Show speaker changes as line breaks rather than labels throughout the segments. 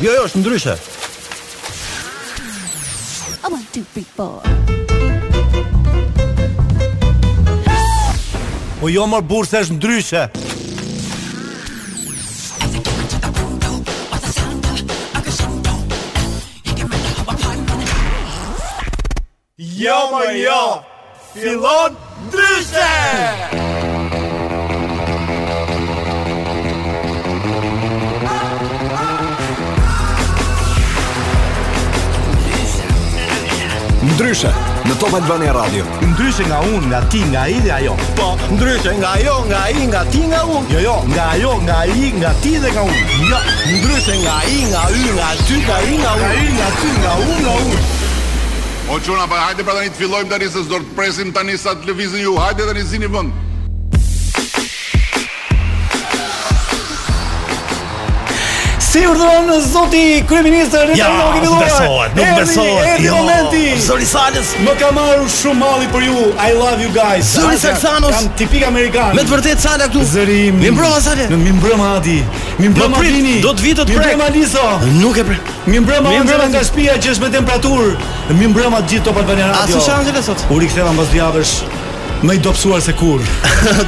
Jo, jo, është ndryshe.
I want to be four.
Po jo mor burr se është ndryshe. Jo mor jo. Fillon ndryshe.
Ndryshe në Top Albania Radio.
Ndryshe nga unë, nga ti, nga ai dhe ajo. Po, ndryshe nga ajo, nga ai, nga ti, nga unë. Jo, jo, nga ajo, nga ai, nga ti dhe nga unë. Jo, ndryshe nga ai, nga y, nga ty, nga i, nga unë. Nga i, nga ty, nga unë, nga unë.
O çuna, pa hajde pra tani të fillojmë tani se s'do të presim tani sa të lëvizin ju. Hajde tani zini vend.
Si urdhëron zoti kryeministër
Ja,
Recep Tayyip
nuk
Erdogan?
besohet, nuk
Erdi-
besohet.
Erdi
jo.
momenti.
Zori Salës
Më ka marrë shumë malli për ju. I love you guys.
Zëri
Asha,
Saksanos.
Jam tipik amerikan.
Me të vërtetë sala këtu.
zëri im.
Mi mbrëma Sale.
Mi mbrëma Adi. Mi mbrëma
Më prit,
Dini.
do të vi, do të
Mi
prek.
mbrëma Liso.
Nuk e pre.
Mi mbrëma
Mi mbrëma
Angela nga shtëpia që është me temperaturë. Mi mbrëma të gjithë Top Albania
A
Radio.
s'është Angela sot?
U riktheva mbas dy javësh më i dobësuar se kur.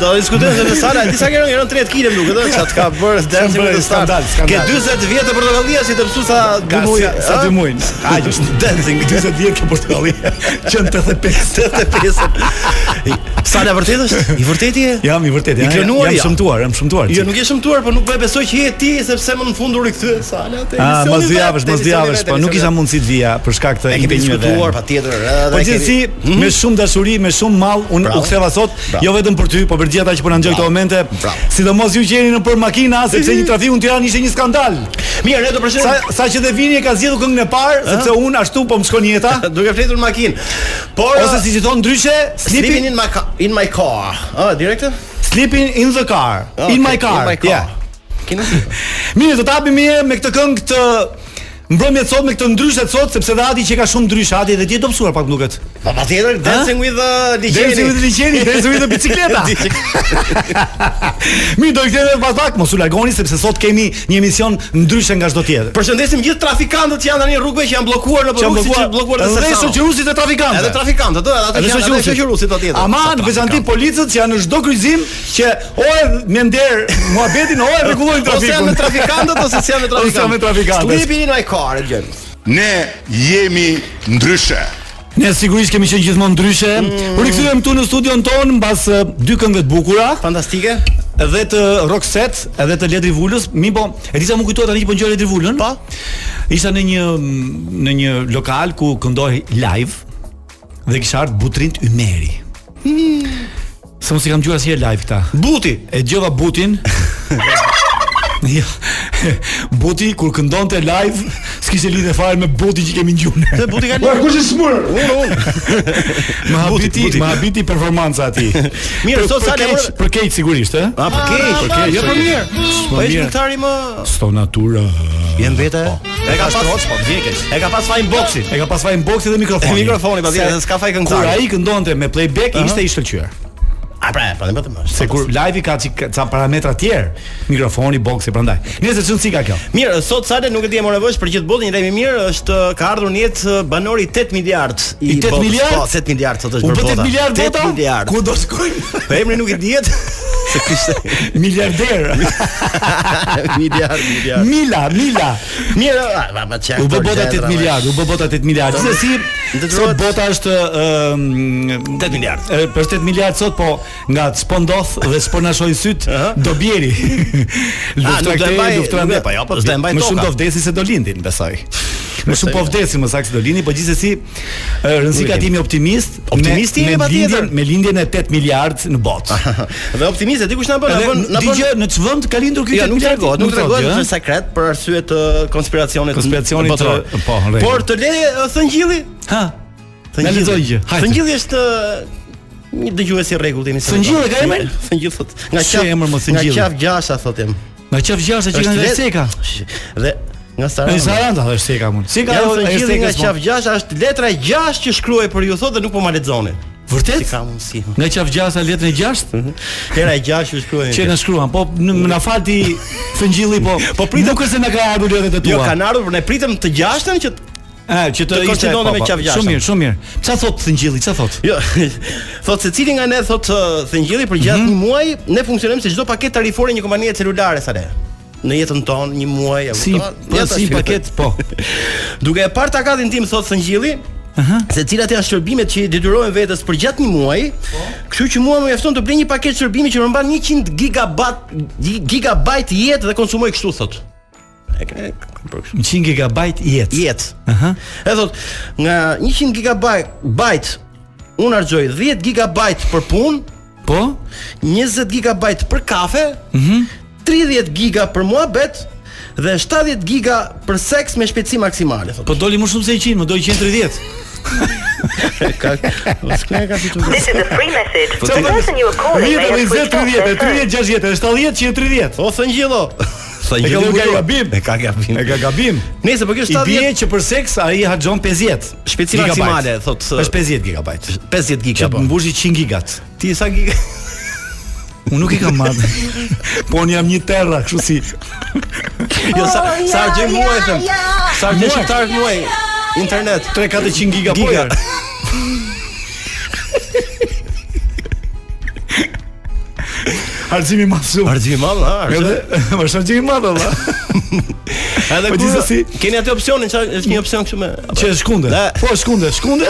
Do diskutojmë se me Sala disa herë ngjëron 30 kg nuk e di çka ka bërë deri
bërë,
në
skandal, skandal.
Ke 40 vjet e portokallia si të psu sa dy muj,
sa- sa
a?
dy muj. Aq është.
dancing
40 vjet ke Portokalli. Qen 85.
85. Sala vërtet është? I vërtetë je?
Jam i vërtetë.
I
jam-
krenuar
jam
ja.
shëmtuar, jam shëmtuar.
Jo, nuk je shëmtuar, por nuk po e besoj që je ti sepse më në fund u rikthy Sala te
Ah,
emisioni
mos dy
vet,
javësh,
te
mos dy
emisioni
javësh,
vet,
po nuk
emisioni
kisha
vet.
mundësi të vija për shkak të
E kemi
intervjeve.
diskutuar patjetër, ë,
Po
dhe e kemi- Mhm.
gjithsesi, me shumë dashuri, me shumë mall, unë
Bravo.
u ktheva sot,
Bravo.
jo vetëm për ty, po për gjithë ata që po na ndjojnë këto momente,
Bravo.
sidomos ju që jeni nëpër makina, sepse një trafiku në Tiranë ishte një skandal.
Mirë, ne do përshërim.
Sa sa që dhe vini e ka zgjedhur këngën e parë, sepse unë ashtu po më shkon jeta,
duke fletur në makinë. Por
ose si që thon ndryshe,
Sleeping
sleeping
in my car, in my car. Ah, direkte?
sleeping in the car,
Ah,
in
okay,
my car. Yeah.
Keni
Mirë, do të hapim mirë me këtë këngë të mbrëmjet sot me këtë ndryshe të sot sepse dhe Adi që ka shumë ndrysh, Adi dhe ti e dobësuar pak më duket.
Pa patjetër Dancing with the Ligjeni.
Dancing with the Ligjeni, Dancing with the bicikleta. Mirë, do i kthehemi pas pak, mos u largoni sepse sot kemi një emision ndryshe nga çdo tjetër.
Përshëndesim gjithë trafikantët që janë tani në rrugë që janë bllokuar në
Që
rrugë, si që janë bllokuar në
edhe
Sesano.
shoqëruesit e trafikantëve.
Edhe trafikantët, ëh, ato
Edhe
që janë
shoqëruesit.
shoqëruesit atje.
Ama në veçanti policët që janë në çdo kryqëzim që ore me nder muhabetin, ore rregullojnë
Ose janë
trafikun.
me trafikantët ose si janë me trafikantët.
Ose janë me trafikantët.
Sleeping in my car, e gjën.
Ne jemi ndryshe.
Ne sigurisht kemi qenë gjithmonë ndryshe. U rikthyem këtu në studion ton mbas eh, dy këngëve të bukura.
Fantastike.
edhe të Roxet, edhe të Ledri Vulës. Mi po, e disa më kujtohet tani që po ngjoj Ledri Vulën. Po. Isha në një në një lokal ku këndoi live dhe kisha ardhur Butrint Ymeri. Se mos i kam gjuar asnjëherë live këta.
Hmm. Buti.
E djova Butin. Jo. Buti kur këndonte live, s'kishte lidhje fare me Butin që kemi ngjuar.
Se Buti ka. Kush i smur? Unë, unë.
Ma
Buti,
habiti,
Buti.
ma habiti performanca aty.
Mirë,
Për-
sot
për
sa ne
keq-
morë-
për keq sigurisht, ë?
A për keq, për keq, jo për mirë. Po ish këngëtari më
Sto natura.
Jem vete. E ka pas po vjekësh. E ka pas fajin boksi.
E ka pas fajin boksi dhe mikrofoni.
Mikrofoni pasi
Se
se s'ka faj
Kur
këngëtar.
ai këndonte me playback ishte i shkëlqyer.
A pra, pra vetëm është.
Se kur live-i ka çik- ca parametra tjerë, mikrofoni, boksi prandaj. Nëse çon si ka kjo.
Mirë, sot Sale nuk e di e morë vesh për gjithë botën, një lajm i mirë është ka ardhur në jetë eh, banori 8 miliard
I 8
botës.
miliard?
Po, 8 miliard sot është
U
për
bë
bota.
8
8
miliard vota?
miliard.
Ku do shkojnë?
Po emri nuk i dihet. Se kishte
Miliarder.
miliard, miliard.
Mila, Mila.
Mirë, a, a, a, çfarë?
U bë
aktor,
bota
çfarë
8
drama
miliard, u bë bota 8 miliard. Gjithsesi,
Ndërruhet-
sot bota është ëm,
8 miliard.
E, për 8 miliard sot po nga s'po ndodh dhe s'po na shojnë syt do bjeri.
A, Ah, nuk do e
Luftra
mbaj-
këtë, luftra
nuk e-
ndaj.
po jo, po s'do e mbaj
Më shumë
toka. jo.
do vdesin se do lindin, besoj. Më shumë po vdesin, më saktë do lindin, po gjithsesi e, rëndësi
Nuk e
ka
di.
timi optimist. me-
Optimist jemi
me
patjetër.
lindjen- Me lindjen e 8 miliard në botë.
Dhe optimiste di kush na bën, na bën,
Edhe
na bën.
dëgjë në ç'vend ka lindur ky
Jo,
8
nuk
miliard?
tregohet, nuk
thotë
tregohet
gjë,
është
ëh?
sekret për arsye të konspiracionit
Konspiracionit
botror.
të- po, në rregull.
Por të le eh, thëngjilli,
Ha. Na
Thëngjilli.
lexoj gjë, hajde.
Thëngjilli është eh, një dëgjues i rregullt jemi.
Thëngjilli ka emrin?
Thëngjilli thot. Nga
Si
qaf
emër, mos
Nga
Thëngjilli?
qaf gjasha thot jam.
Nga qef gjashtë që kanë
vet-
seka.
Sh- Dhe nga
Në
Saranda.
Saranda është seka mund. Seka
Ja
është
thëngjilli
seka.
nga
s'mon.
qaf gjasha është letra 6 që shkruaj për ju thot dhe nuk po ma lexoni.
Vërtet?
Si ka mundësi.
Nga qafgjasa letrën e 6?
Hera e 6 u shkruajnë.
Që na shkruan, po në- na falti fëngjilli, po. Po pritet nuk është se na ka ardhur letrat e tua.
Jo, kanë ardhur, ne pritëm të gjashtën që t-
Ë, që të,
të koordinonin me
po, po.
qafgjasën.
Shumë mirë, shumë mirë. Çfarë thot fëngjilli? Çfarë thot?
Jo, thotë se cili nga ne thotë ë, Thëngjilli për gjatë
Mhm.
një muaji ne funksionojmë si çdo paketë tarifore një kompanie celulare sa ne. Në jetën tonë një muaj apo
Si, po, si paket, po.
Duke e parë takatin tim thotë Thëngjilli, Aha. Se cilat janë shërbimet që i detyrohen vetes për gjatë një muaji.
Po.
Kështu që mua më mjafton të blej një paketë shërbimi që përmban 100 gigabyte gi- gigabyte jetë dhe konsumoj kështu thotë. E ke-
100 GB jetë.
jetë. Aha. E thot, nga 100 gigabyte byte unë harxoj 10 gigabyte për punë,
Po?
20 gigabyte për kafe, 30 giga për muhabet dhe 70 giga për seks me shpejtësi maksimale thot.
Po doli më shumë se 100, më doli 130.
ka ka fitu.
This is a free message.
Po
The
ti-
person you are calling may have
20,
switched off
30,
their phone.
30, 60, 70, 130.
O thëngjillo.
E ka
Thëngjillo
ka
bukur.
gabim. E ka gabim. E ka gabim.
Nëse po kjo
I bie
70
që për seks ai haxhon 50.
Shpejtësi
gigabyte.
maksimale, thot, ë,
Është 50 GB.
50 giga
Që
po.
mbushi 100 gigat.
Ti sa giga?
Unë nuk i kam marrë. po unë jam një terra, kështu si.
Jo sa sa harxoj muaj them. Sa harxoj
Muaj.
shqiptarët muaj internet.
3-400 giga po.
Giga.
Giga. Harximi më shumë.
Harxhi mall, ha.
Edhe
harxoj.
më shumë i madh valla.
Edhe
po
kur-
gjithsesi-
keni atë opsionin, çfarë është një opsion kështu me
Që është shkunde.
Da.
Po shkunde, shkunde.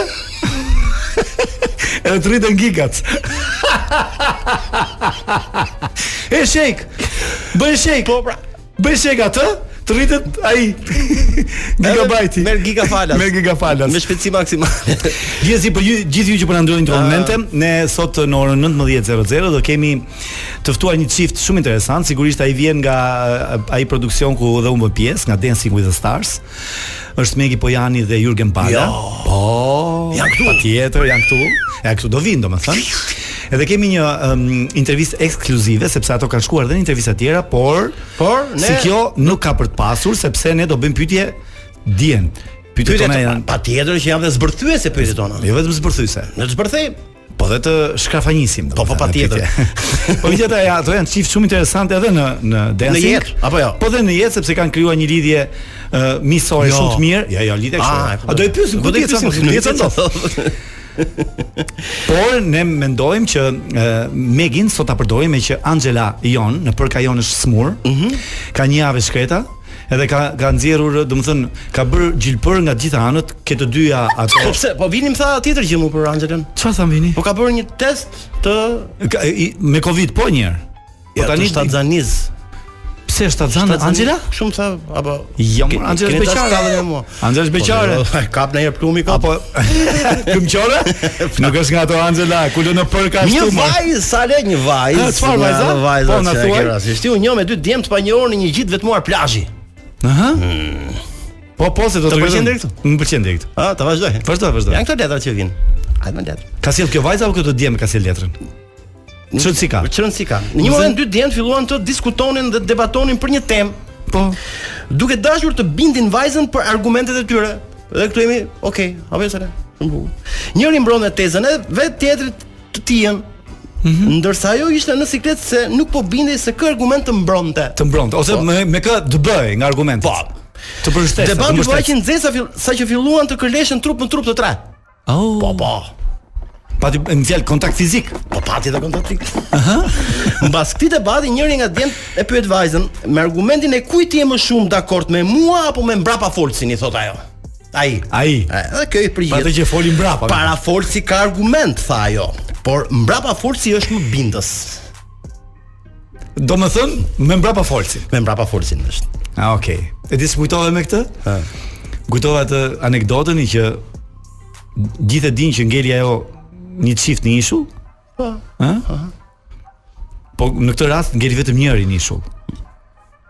Edhe të rritën gigat. e shejk. Bëj shejk. Po pra. Bëj shejk atë, të rritet ai gigabajti.
Merr gigafalas.
Merr gigafalas.
Me shpejtësi maksimale.
Gjithsesi për ju, gjithë ju që po na ndroni këto
Ah.
momente, ne sot në orën 19:00 do kemi të ftuar një çift shumë interesant, sigurisht ai vjen nga eh, ai produksion ku dhe unë bë pjesë, nga Dancing with the Stars. Është Megi Pojani dhe Jurgen
Jo.
Pala. Po, janë këtu. Patjetër, janë këtu. Ja këtu do vinë, domethënë. Edhe kemi një um, intervistë ekskluzive sepse ato kanë shkuar dhe në intervista tjera, por
Por,
si
ne-
kjo nuk ka për të pasur sepse ne do bëjmë pyetje dien. Pyetjet tona
Pyetjet
janë
patjetër që janë dhe zbërthyese pyetjet tona.
jo vetëm zbërthyse.
Ne të zbërthej.
Po dhe të shkafanjisim.
Po, po, patjetër.
po megjithatë ja, ato janë çift shumë interesante edhe në në dancing.
Në jetë, apo jo?
Po dhe në jetë sepse kanë krijuar një lidhje uh, miqësore shumë të mirë. Jo, jo, lidhje
Ah, e
kështu.
kuptoj.
A do i pyesim
Po
ku
do i
dihet
pyesim,
sa
nuk
dihet sa
dihet
ndodh. Por ne mendojmë që uh, Megin sot ta përdorim me që Angela jon, në përka jon është smur. Ka një javë shkreta edhe ka ka nxjerrur, domethënë, ka bërë gjilpër nga të gjitha anët, ke të dyja
Po
ato.
pse? Po vinim tha tjetër gjë mu për Angelën.
Çfarë tham vini?
Po ka bërë një test të
Ka, i, me Covid po një herë. Po
ja, tani
tani
shtatzaniz.
pse shtatzan Angela?
Shumë tha apo
Jo, mor, Angela është beqare. Angela është beqare.
Po, jo. Kap në herë plumi kap.
Apo këmqore? Nuk është nga ato Angela, kulo në për ka
Një
ashtu mor.
vajzë, sa le një vajzë.
Ha, Ah, çfarë vajza?
Nga Vajza.
Po, na
që e
thuaj.
ke rastisht. Ti u njoh me dy djem të panjohur në një gjitë vetmuar plazhi.
Aha. Po po se do
Të
të
pëlqen
rregojmë.
deri këtu?
Më pëlqen deri këtu.
Ah, ta vazhdoj.
Vazhdo, vazhdo.
Janë këto letra që vijnë. Hajde me letra.
Ka sjell kjo vajza apo kjo të djem ka sjell letrën? Çon si ka?
Për çrën si ka. Në një moment dy djem filluan të diskutonin dhe debatonin për një temë,
Po.
duke dashur të bindin vajzën për argumentet e tyre. Dhe këtu jemi, okay, apo jo sale. Shumë bukur. Njëri mbron me tezën e vet tjetrit të tijen.
Mhm.
Ndërsa ajo ishte në siklet se nuk po bindej se kë argument të mbronte.
Të mbronte ose
Po.
me me kë të bëj nga argumentet. Po. Të përshtes.
Debati po aq i nxehtë sa fill- sa që filluan të kërleshin trup në trup të tre.
Oh. Po po. Pati në fjalë kontakt fizik.
Po pati dhe kontaktik. Mbas këtij debati njëri nga djemt e pyet vajzën me argumentin e kujt je më shumë dakord me mua apo me mbrapa folsin i thot ajo. Ai.
Ai.
E, Dhe kjo i
Pa të
përgjigjet.
që folin mbrapa.
Para folsi ka argument tha ajo, por mbrapa folsi është më bindës.
Do më thënë, me mbrapa folsin.
Me mbrapa folsin është.
A, Ah, okej. E di së kujtove me këtë? Ha. Kujtove atë anekdotën i që gjithë e din që ngeli ajo një çift në ishull? Po. Ë? Po në këtë rast ngeli vetëm njëri në ishull.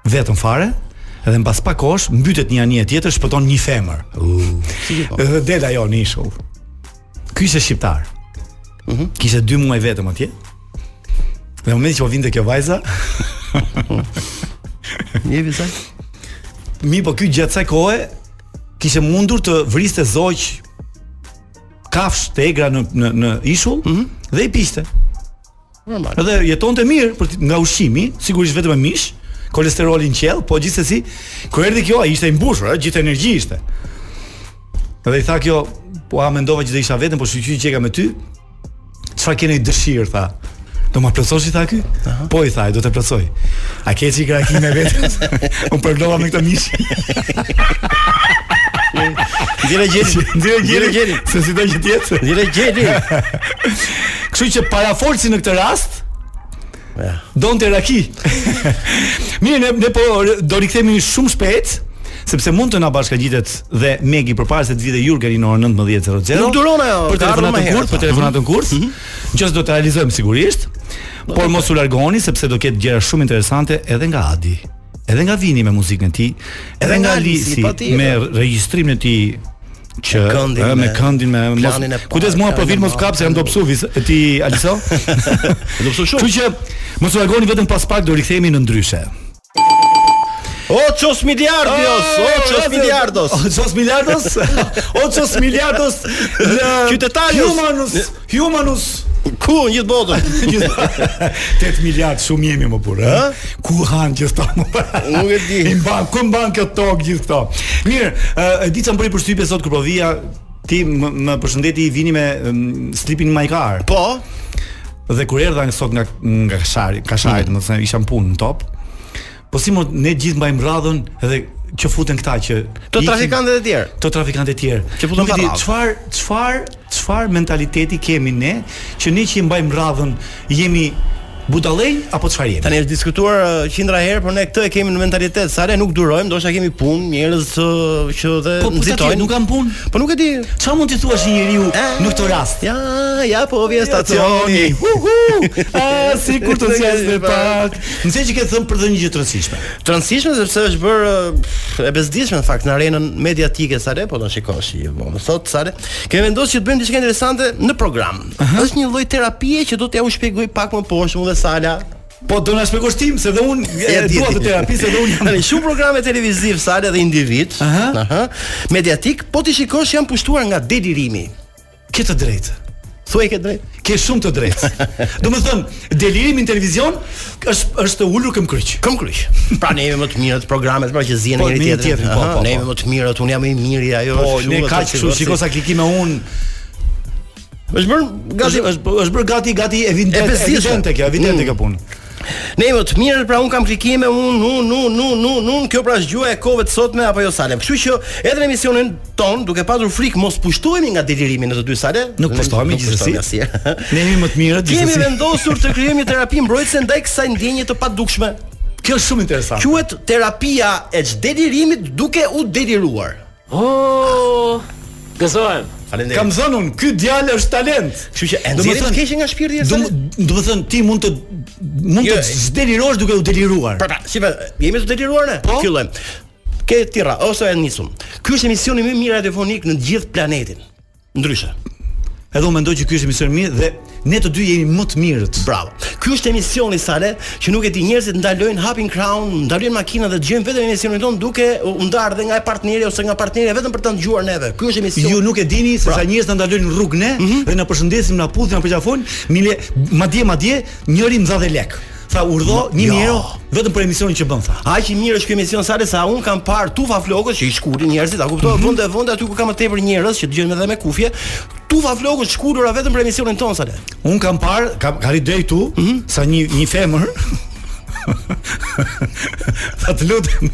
Vetëm fare, edhe mbas pak kohësh mbytet një anije tjetër, shpëton një femër. Edhe del ajo në ishull. Ky ishte shqiptar. Kishte 2 muaj vetëm atje. Dhe në momentin që po vinte kjo vajza,
Jepi sa?
Mi po ky gjatë kësaj kohe kishte mundur të vriste zogj kafsh të egra në në në ishull dhe i piste.
Normal.
Edhe jetonte mirë për t- nga ushqimi, sigurisht vetëm me mish, kolesterolin qell, po gjithsesi kur erdhi kjo ai ishte i mbushur, ëh, gjithë energji ishte. Edhe i tha kjo, po a mendova që do isha vetëm, po shqyqy që e ka me ty. Çfarë keni dëshirë tha? Do ma plotësosh i tha ky? Po i tha, "ai, do të plotësoj. A ke çik krakim me vetes? Unë përlova me këtë mish.
Nxjerrë gjeni,
Nxjerrë gjeni,
Nxjerrë gjeni.
se si do që tjetë.
nxjerrë gjeni.
Kështu që parafolsi në këtë rast Donte raki. Mirë, ne, ne po do rikthehemi shumë shpejt sepse mund të na bashkangjitet dhe Megi përpara se të vijë Jurgeni në orën 19:00.
Nuk duron ajo,
Për
ka ardhur më
telefonatën
herët,
kurs, për
po.
telefonatën kurs. Gjës do të realizojmë sigurisht, por mos u largoni sepse do ketë gjëra shumë interesante edhe nga Adi, edhe nga Vini me muzikën e tij, edhe
Edhe
nga
nga
Alisi
Alisi, pa tjetër.
me regjistrimin e tij që
Me këndin,
ë, me
me
këndin me mos-
planin e parë,
kujdes mua po
planin e
vin mos
parë.
kap se jam do psu vis- ti Aliso. do psu shumë. Kështu që mos u largoni vetëm pas pak do rikthehemi në ndryshe.
O ços miliardios, o ços miliardos.
Ços miliardos? O ços miliardos.
Qytetarios.
Humanus, humanus.
Ku në gjithë botën?
8 miliard shumë jemi më burë, ë? Ku han gjithë këto? më burë?
Nuk e di.
I mban, ku mban kjo tokë gjithë këto? Mirë, ë, e di çam bëri përshtypje sot kur po vija ti më, më përshëndeti i vini me mm, slipin my car.
Po,
Dhe kur erdha në sot nga nga Kashari, Kashari,
Mm.
do të thënë isha në punë në top. Po si mo ne gjithë mbajmë radhën edhe që futen këta që
të
ikin-
trafikantët e tjerë.
to trafikantë të tjerë.
Që futen
Nuk e di
pa radhë.
çfar çfar çfar mentaliteti kemi ne që ne që i mbajmë radhën jemi budallëj apo çfarë jemi?
Tani është diskutuar uh, qindra herë, por ne këtë e kemi në mentalitet. Sa ne nuk durojmë, ndoshta kemi punë, njerëz uh, që dhe
Po po ta
nxitojnë.
nuk kam punë.
Po nuk e di.
Çfarë mund t'i thuash një njeriu
E,
në këtë rast?
Ja, ja po vjen stacioni.
Uhu! A si kur të zgjas me pak. Nëse që ke thënë për të një gjë të rëndësishme.
Të rëndësishme sepse është bërë uh, e bezdishme në fakt në arenën mediatike sa re, po ta shikosh i po. Më thot sa re, kemi vendosur që të bëjmë diçka interesante në program. Është një lloj terapie që do t'ja u shpjegoj pak më poshtë unë dhe Sala.
Po do na shpjegosh tim se dhe unë e,
Ja, di,
dua
di.
të terapisë dhe unë jam.
Tani shumë programe televiziv Sala dhe individ,
Aha.
aha, mediatik, po ti shikosh janë pushtuar nga delirimi.
Ke të drejtë.
Thuaj ke drejt.
Ke shumë të drejtë. Do të them, delirimi në televizion është është ulur këm kryq.
Këm kryq. Pra ne jemi më të mirët programet, pra që zihen
Po,
njëri
me njëri
tjetrin.
tjetrin, po,
Aha,
po,
Ne
po.
jemi më të mirët, unë jam më i miri, ajo
Po,
është
ne
kështu,
kaq
ato
kështu
si-
shiko sa klikime un.
Është bërë
Gati
gati
është bë- është bërë gati gati
E
evidente
bezdishme.
evidente kjo, evidente
Mm.
kjo punë.
Ne jemi të mirë, pra un kam klikime, un un un un un un kjo pra është gjuha e kohëve të sotme apo jo sale. Kështu që edhe në emisionin ton, duke pasur frikë mos pushtohemi nga delirimi në të dy sale.
Nuk pushtohemi
Nuk
gjithsesi.
pushtohemi asnjëherë.
Ne jemi më të mirët
Kemi
gjithsesi.
vendosur të krijojmë një terapi mbrojtëse ndaj kësaj ndjenje të padukshme.
Kjo është shumë interesante.
Quhet terapia e delirimit duke u deliruar.
Oh, gëzohem.
Kam
Faleminderit.
thënë un, ky djalë është talent.
Kështu që e
Do më
nxjerrim
thënë-
të keqe nga shpirti
Do
jashtë.
do të thënë ti mund të mund
Jo,
të
e-
zdelirosh duke u deliruar.
Pra, pra, si pa, jemi të deliruar ne?
Po.
Fillojmë. Ke tira ose e nisum. Ky është emisioni më i mirë radiofonik në të gjithë planetin. Ndryshe.
Edhe unë mendoj që ky është emision mirë dhe ne të dy jemi më të mirët.
Bravo. Ky është emisioni sale që nuk e di njerëzit ndalojnë hapin crown, ndalojnë makina dhe dëgjojnë vetëm emisionin ton duke u u ndarë dhe nga e partneri ose nga partnerja vetëm për ta dëgjuar neve. Ky është emisioni.
Ju Pra. Mhm. nuk e dini se sa njerëz na ndalojnë në rrugë ne dhe na përshëndesin, na puthin, na përqafojnë, mile madje madje njëri më dha dhe lek. Tha urdho 1000
Jo.
euro vetëm për emisionin që bën tha.
Aq i mirë është ky emision sale sa un kam parë tufa flokësh që i shkulin njerëzit, a kuptoj,
Mhm.
vende vende aty ku ka më tepër njerëz që dëgjojnë edhe me kufje, tufa flokësh shkulura vetëm për emisionin ton sale.
Un kam parë, kam ka ri drejt tu, sa një një femër. tha të lutem.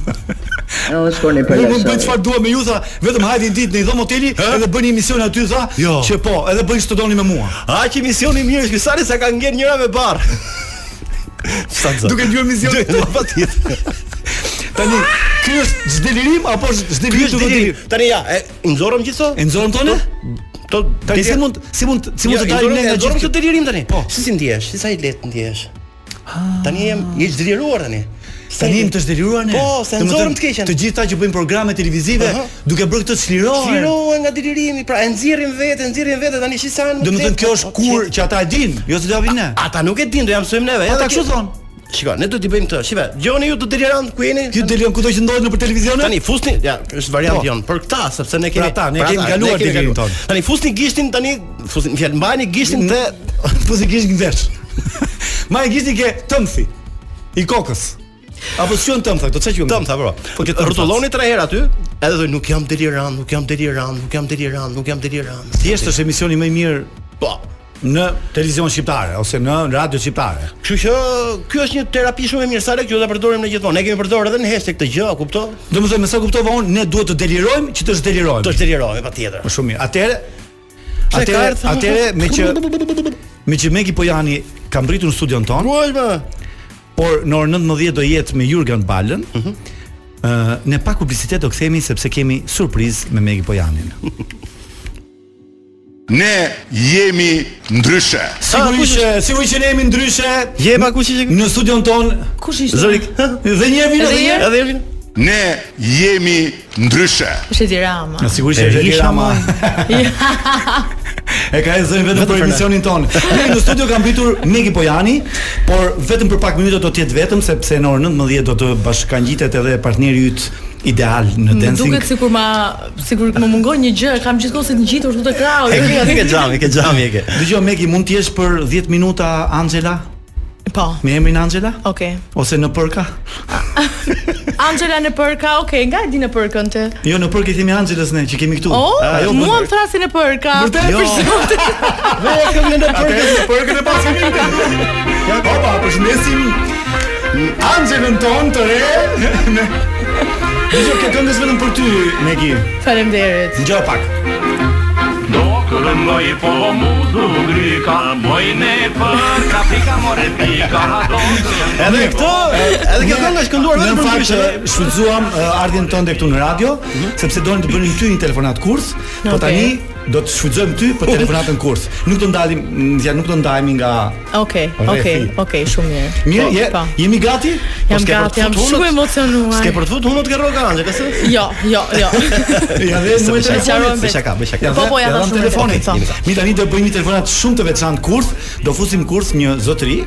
Unë mund bëj çfarë dua me ju tha, vetëm hajde një ditë në një dhomë hoteli edhe bëni emision aty tha,
Jo.
që po, edhe bëni ç'të doni me mua.
Aq emisioni i mirë është ky sale sa ka ngjerë njëra me barr. Sa të
Duke ndjuar emisionin
Duke- patjetër.
Tani, ky është zdelirim apo është
Ky
zdelirim
është
duke
deri.
delirim?
Tani ja, e i nxorëm gjithso?
E nxorëm tonë?
To
Tani si mund si mund si mund të dalim ne nga gjithë
kjo
kjo?
delirim tani.
Po. Ah.
Si si ndihesh? Si sa i lehtë ndihesh? Tani jam je deliruar tani.
Tani jemi të zhdelluar ne.
Po, se
Domethënë,
nxorëm të keqen.
Të gjithë ta që bëjnë programe televizive,
Aha.
duke bërë këtë të çlirohen.
Lirohen Oh, nga delirimi, pra e nxjerrin veten, nxjerrin veten tani shi sa janë. më
Domethënë
të
kjo
lehtë.
është
Po,
kur
qe-
që ata e dinë, jo se do japin ne.
Ata nuk e din, do ja mësojmë neve.
Ata
edhe
kështu
kjo-
thonë.
Shikoj, ne do t'i bëjmë këtë. Shikoj, dëgjoni ju të deliran ku jeni?
Ky delion kudo që ndodhet nëpër televizion?
Tani fusni, ja, është varianti jon për këtë, sepse ne kemi
Po. Për ata, ne kemi
ata,
kaluar
kemi
delirin
kaluar.
ton.
Tani fusni gishtin tani, fusni fjalë mbajni gishtin dhe
po si kish gjesh. Ma e gjisni ke tëmthi i kokës. Apo s'quen tëmtha, këto çfarë quhen?
Tëm tha bro.
Po ke tëm,
rrotulloni tre herë aty, edhe thoj nuk jam deliran, nuk jam deliran, nuk jam deliran, nuk jam deliran.
Thjesht është emisioni më i mirë
Po.
në televizion shqiptare ose në radio shqiptare.
Kështu që ky është një terapi shumë e mirësare që do ta përdorim ne gjithmonë. Ne kemi përdorur edhe në hashtag këtë gjë, a kupton?
Domethënë, me sa kuptova unë, ne duhet të delirojmë që të zhdelirojmë.
Do të delirohemi patjetër.
Më shumë mirë. Atëre
Pse ka
Atëre,
ardhur?
atëre me që me që Megi Pojani ka mbritur në studion ton,
Kuaj më?
por në orën 19 do jetë me Jurgen Balën. Ëh, ne pak publicitet do kthehemi sepse kemi surprizë me Megi Pojanin.
Ne jemi ndryshe.
Sigurisht,
kush
që- sigurisht që ne jemi ndryshe
Je pa kush ishte?
në studion ton.
Kush ishte?
Zëri.
Dhe një herë vjen edhe një herë.
Edhe Ervin.
Ne jemi ndryshe.
Është Edi Rama.
Na sigurisht
E
që Zeli
isha,
Rama. E ka e zënë vetëm për emisionin ton. Ne në studio ka mbritur Megi Pojani, por vetëm për pak minuta do të jetë vetëm sepse në orën 19 do të bashkangjitet edhe partneri yt ideal në
Më
dancing.
duket sikur ma sikur më mungon një gjë, kam gjithkohë si të ngjitur këtu te krahu.
E ke aty ke xhami, ke xhami e ke.
Dëgjoj Megi, mund të jesh për 10 minuta Angela?
Po.
Me emrin Angela?
Okej.
Ose në përka?
Angela në përka, okej, nga e di në përkën të.
Jo, në përka i themi Angelës ne që kemi këtu.
O,
Ah, jo,
mua më thrasin në përka.
Vërtet?
Jo.
Jo.
Ve e kam në për.
Përkën e pasim Ja, opa, përshëndesim Angelën tonë të re me- Dëgjoj, këtë këndës vetëm për ty, Megi
Faleminderit.
Dëgjoj pak
Edhe këto, edhe kjo këngë është kënduar
po. Në
vetëm për
fakt
ndryshe.
e, shfrytzuam e, ardhjen tënde këtu në radio,
Mhm.
sepse donim të bënim ty një telefonat kurth, po
Okej.
tani do të shfrytëzojmë ty për telefonatën kurth. Nuk do ndalim, m, ja nuk do ndahemi nga
Okej, okej,
Rrefi.
okej, shumë mirë.
Mirë,
Po,
je,
po.
jemi gati? Po
Jam
s'ke për të
gati, jam
futur
shumë
punët?
emocionuar.
S'ke për të futur hundot ke rroga Anxhe, ka se?
Jo, jo, jo.
Ja dhe
Se
më
bëj shaka,
telefonit.
bëj shaka, bëj shaka.
Po, po, ja
dham
thash shumë
telefonin.
vetë, po.
Mi tani do bëjmë një telefonat shumë të veçantë kurth, do fusim kurth një zotëri,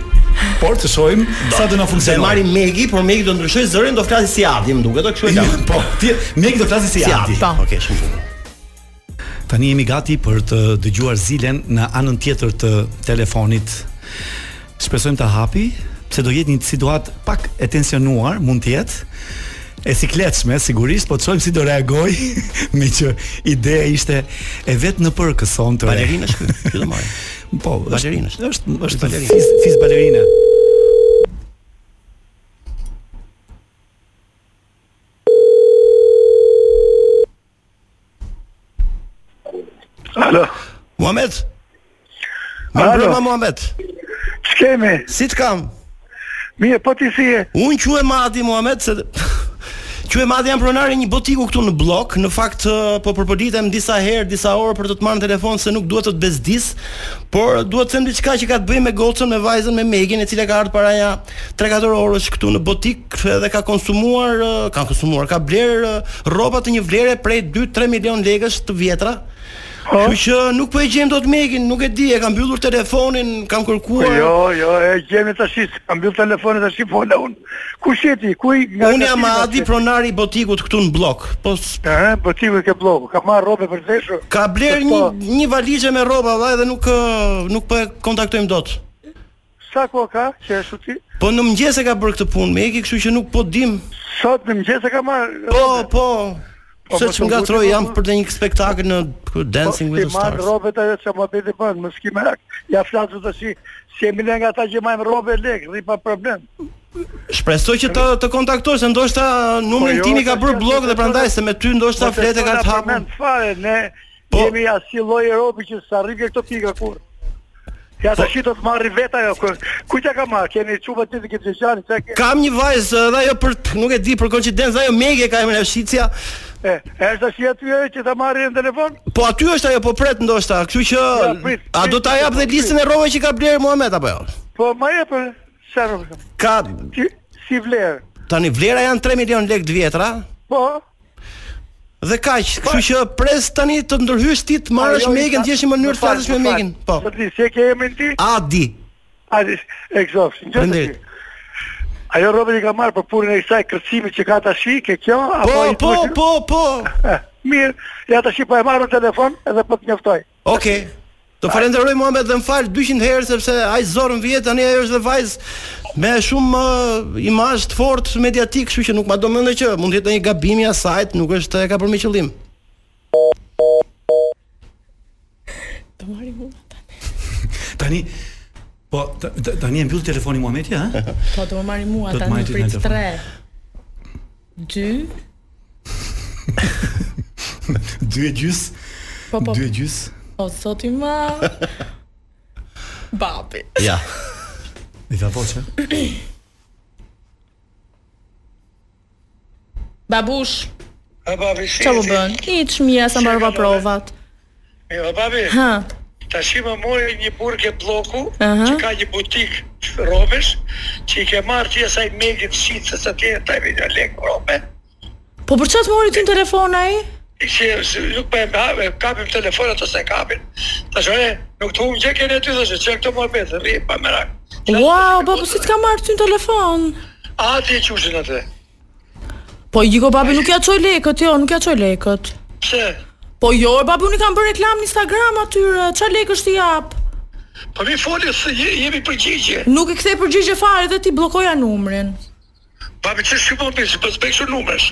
por të shohim sa do na
Se
funksionojë.
marri Megi, por Megi do ndryshoj zërin, do flasi si Adi, më duket, o kështu e kam.
Po, ti mjek do flasë si
Si
Adi.
Adi.
Po.
Okej, shumë bukur.
Tani jemi gati për të dëgjuar Zilen në anën tjetër të telefonit. Shpresojmë ta hapi, pse do jetë një situatë pak e tensionuar, mund të jetë e sikletshme sigurisht, po të shohim si do reagoj, me që ideja ishte e vetë në për këson të re.
Balerinë është ky, që do marr.
Po,
Balerinë është.
është është është balerinë. Fis, fis balerinë.
Muhamet. Mirë mbrëma Muhamet.
Kemi,
Si të kam?
mirë, po ti si je?
Unë quhem Adi Muhamet se Quhem Adi jam pronari një botiku këtu në blok. Në fakt ë, po përpolitem disa herë, disa orë për të të marr në telefon se nuk duhet të të bezdis, por duhet të them diçka që ka të bëjë me gocën, me vajzën, me Megin, e cila ka ardhur para ja 3-4 orësh këtu në botik edhe ka konsumuar, ë, ka konsumuar, ka bler rroba të një vlere prej 2-3 milion lekësh të vjetra.
Oh.
Kështu që nuk po e gjem dot Megin, nuk e di, e kam mbyllur telefonin, kam kërkuar.
Jo, jo, e gjemi tash, kam mbyll telefonin tash, fola un. Ku sheti? Ku i nga?
Unë jam
nga-
Adi pronari i botikut këtu në blok. Po s-
Ëh, po ti më ke blloku, ka marr rrobe për veshur.
ka bler një
Po,
një valizhe me rroba valla dhe nuk ë, nuk po e kontaktojmë dot.
Sa kohë ka që e shuti?
Po në mëngjes e ka bërë këtë punë me Eki, kështu që nuk po dim.
Sot në mëngjes e ka marr.
Po, po.
Po,
Se
po,
që më
të
gatroj,
nguti,
jam
po.
për të një spektakl në kë- Dancing with the
Marr
Stars.
rrobet ajo që më bëti bën, mos ki merak. Ja flasu tash, si jemi ne nga ata që marrin rrobe lek, rri pa problem.
Shpresoj që të të kontaktoj se ndoshta numrin
jo,
tim i ka
tash
bërë
jam
blok dhe
profesor.
prandaj se me ty ndoshta flete ka të hapur.
fare, ne
Po.
jemi asnjë lloj Europi që sa rrim këto pika kur. Ja
Po.
tash do të marri vetë ajo. ku- Ku t'ja ka marrë? Keni çupa ti të këtë gjani, çka ke?
Kam një vajzë dhe ajo për nuk e di për koincidencë dhe ajo Megi e ka emrin Shicja.
E, është tash aty ajo që ta marrin në telefon?
Po aty është ajo po pret ndoshta, kështu që
Ja, prit,
a
prit,
do ta jap dhe
prit.
listën e rrove që ka bler Muhamet apo jo?
Po ma e për çfarë?
Ka
Ti si vlerë.
tani vlera janë 3 milion lekë të vjetra
Po,
dhe kaq, kështu që pres tani të ndërhysh ti të marrësh
ajo i
Megin,
ka-
të jesh në mënyrë
më
të
fal,
flasësh me
më fal.
Megin. Po.
Po ti si e ke emrin ti?
A di.
A di, egzof.
Faleminderit.
Faleminderit. Ajo Robert i ka marrë për punën e saj kërcimit që ka tashi, ke kjo
Po,
apo i
po,
duhet-
po, po.
Eh, Mirë, ja tashi po e marr në telefon edhe po të njoftoj.
Okej. Të falenderoj Muhamet dhe më fal 200 herë sepse ai zorën vjet tani ajo është dhe vajzë me shumë uh, imazh të fortë mediatik, kështu që nuk ma do mendoj që mund të jetë një gabim i asaj, nuk është e ka për me qëllim.
Tani po ta- ta- tani e mbyll telefoni Muhameti, ha?
Po të më marri mua
Do të
tani
marri ti
prit
telefon.
3
Dy
2
e gjys,
Po po
dy e gjys.
po sot i ma Babi
Ja.
I tha po çe?
Babush
E babi, si?
Qa po bën? Iq mija sa mbarova provat
Jo, babi,
Ha
tashi më mori një burke bloku
Aha.
që ka një butik robesh që i ke marrë ti asaj megit shitës atje, ta i një lek robe.
Po për çfarë të mori ty në telefon ai?
Ishte se nuk po e ha- e kapim telefonat ose e kapin. Tash e nuk të humbë gjë keni aty thashë, çka këto mohabet, rri pa merak.
Wow, po po si t'ka marrë ty në telefon?
A ti e qushin atë?
Po Gjiko babi nuk ja çoj lekët, jo, nuk ja çoj lekët.
Pse?
Po jo, e babi unë i kam bërë reklam në Instagram atyre, qa lekësh ti jap?
Po mi foli se je- jemi përgjigje.
Nuk i kthej përgjigje fare dhe ti bllokoja numrin.
Babi çe shkoj më pse po s'bëj kështu numësh.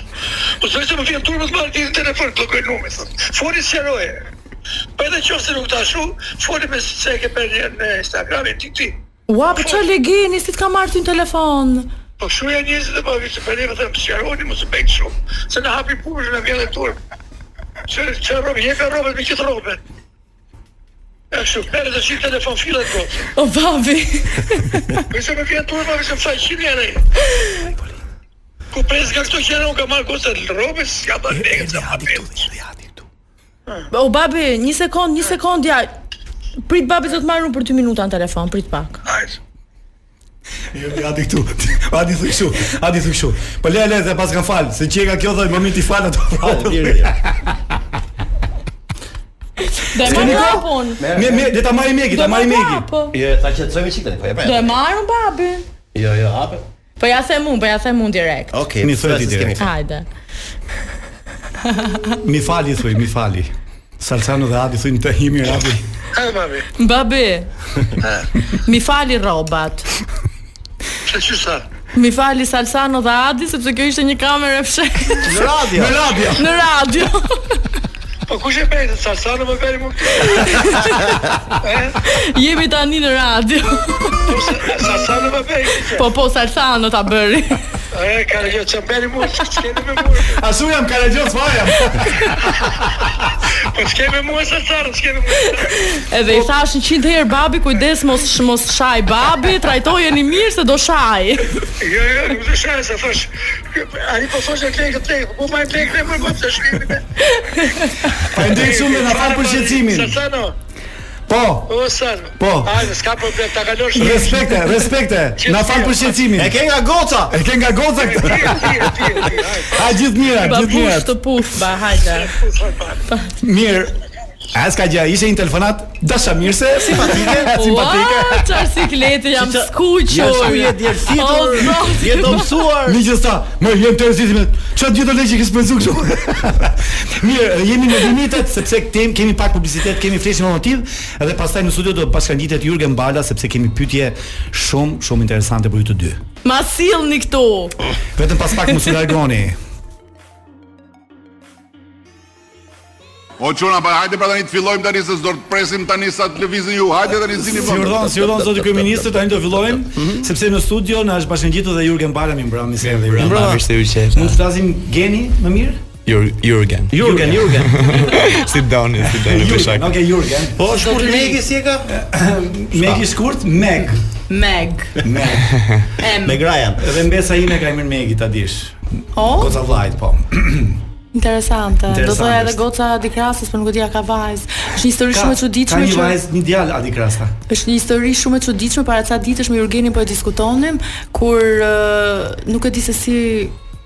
Po s'bëj se më vjen turp të marr ti në telefon bllokoj numrin. thot. Foli sqaroje. Po edhe qofse nuk tashu, foli me se e ke bërë në Instagram e ti ti.
Ua, po çfarë legeni, si t'ka marrë ty në telefon?
Po kështu janë njerëzit dhe babi se përneve them sqaroni mos e bëj kështu. Se na hapi punën në vjen turp. Çe çe rob, je ka robët me gjithë robët. E kështu, merë të shikë telefon filet po.
O babi.
Po se më vjen turp, më se më faj qinë janë ai. Ku pres nga këto qëra unë ka marrë kostet robës, ka bërë legët
ε,
sa hapit.
O babi, një sekond, një sekond ja. Prit babi do të marrë unë për 2 minuta në telefon, prit pak.
Hajde.
Jo, hadi këtu. Hadi thuj kështu. Hadi thuj kështu. Po le le dhe pas kan fal, se çeka kjo thoj më mirë ti fal ato.
Do e marr prapë unë.
Me me le ta marrim Megi, ta
Do po. e
marrim
marr
Megi.
prapë.
Jo, ta qetësoj me çikën, po e
Do e marr unë babi.
Jo, jo, hape.
Po ja them unë, po ja them unë direkt.
Okej.
Mi
s'ka
thuaj ti
se s'kemi
direkt.
fal.
Hajde.
Mi fali thuj, mi fali. Salsano dhe Adi thuj në të himi rapi.
Hajde mami.
Babi.
Eh.
Mi fali rrobat.
Se çu sa?
Mi fali Salsano dhe Adi sepse kjo ishte një kamerë e fshehtë
Në radio.
Në radio.
në radio.
Po kush e bëj të sarsanë më bëri më këtu? Ε,
Jemi tani në radio.
Po sa- sarsanë më bëri. Po
Po po Salsano ta bëri.
e ka gjë çam bëri më, ç'kemi me mua.
Asu jam Karagjos fajam.
Po ç'kemi me mua sarsanë, ç'kemi me mua.
Edhe i thashin 100 herë babi kujdes mos sh- mos shaj babi, trajtojeni mirë se do shaj.
Jo, jo, nuk të shaj se thash. Ani po thoshë klej këtë klej, po më klej këtë më po të shkrim.
Faleminderit shumë
Ε,
dhe na fal për shqetësimin.
Sarsanë,
Po.
o san.
Po.
Hajde, s'ka problem, ta kalosh.
Respekte, respekte. Na fal për shqetësimin.
E ke nga goca.
E ke nga goca këtë.
Ti, ti, ti, ti, hajde.
A gjithë mira, gjithë mira.
Babush të puth, ba hajde.
Po, sa bani.
Mirë. A s'ka gjë, ishte një telefonat dashamirëse, simpatike, simpatike.
Ua, çfarë sikleti jam
Qa-
Jo,
Ja,
skuqur. Oh,
ku je djersitur?
O, zoti.
Je domsuar.
Megjithësa, më jam të rëzitime. Çfarë gjithë lëgjë që ke spenzuar kështu? Mirë, jemi në limitet sepse kemi kemi pak publicitet, kemi fleshë me motiv dhe pastaj në studio do bashkangjitet Jurgen Bala sepse kemi pyetje shumë shumë interesante për ju të dy.
Ma sillni këtu.
Vetëm pas pak mos u largoni.
O çuna, pa hajde pra tani të fillojmë tani se s'do të presim tani sa të lëvizin ju. Hajde tani zini
Si urdhon, si urdhon zoti kryeministër, tani do fillojmë sepse në studio na është bashkangjitur dhe Jurgen Bala mi mbrëm mi sen dhe Jurgen Bala.
Mirë se u qeta.
Mund të flasim Geni më mirë?
Jur- Jurgen.
Jurgen, Jurgen.
Si doni, si doni
Jurgen,
peshak.
okay Jurgen.
Po shkurt megi si e ka?
Meg i shkurt, Meg.
Meg.
Meg.
Em.
Me grajan.
Edhe mbesa ime ka emrin Megi ta dish.
O,
Goca vllajt po.
interesante. Do
Interesante
thoya edhe
është.
goca dikrasis, por nuk e di a ka vajz. Është një histori shumë e
Ka
çuditshme
një
që
vajzë, një djalë Adi Krasta.
është një histori shumë e çuditshme para ca ditësh me Jurgenin po e diskutonim kur ë, nuk e di se si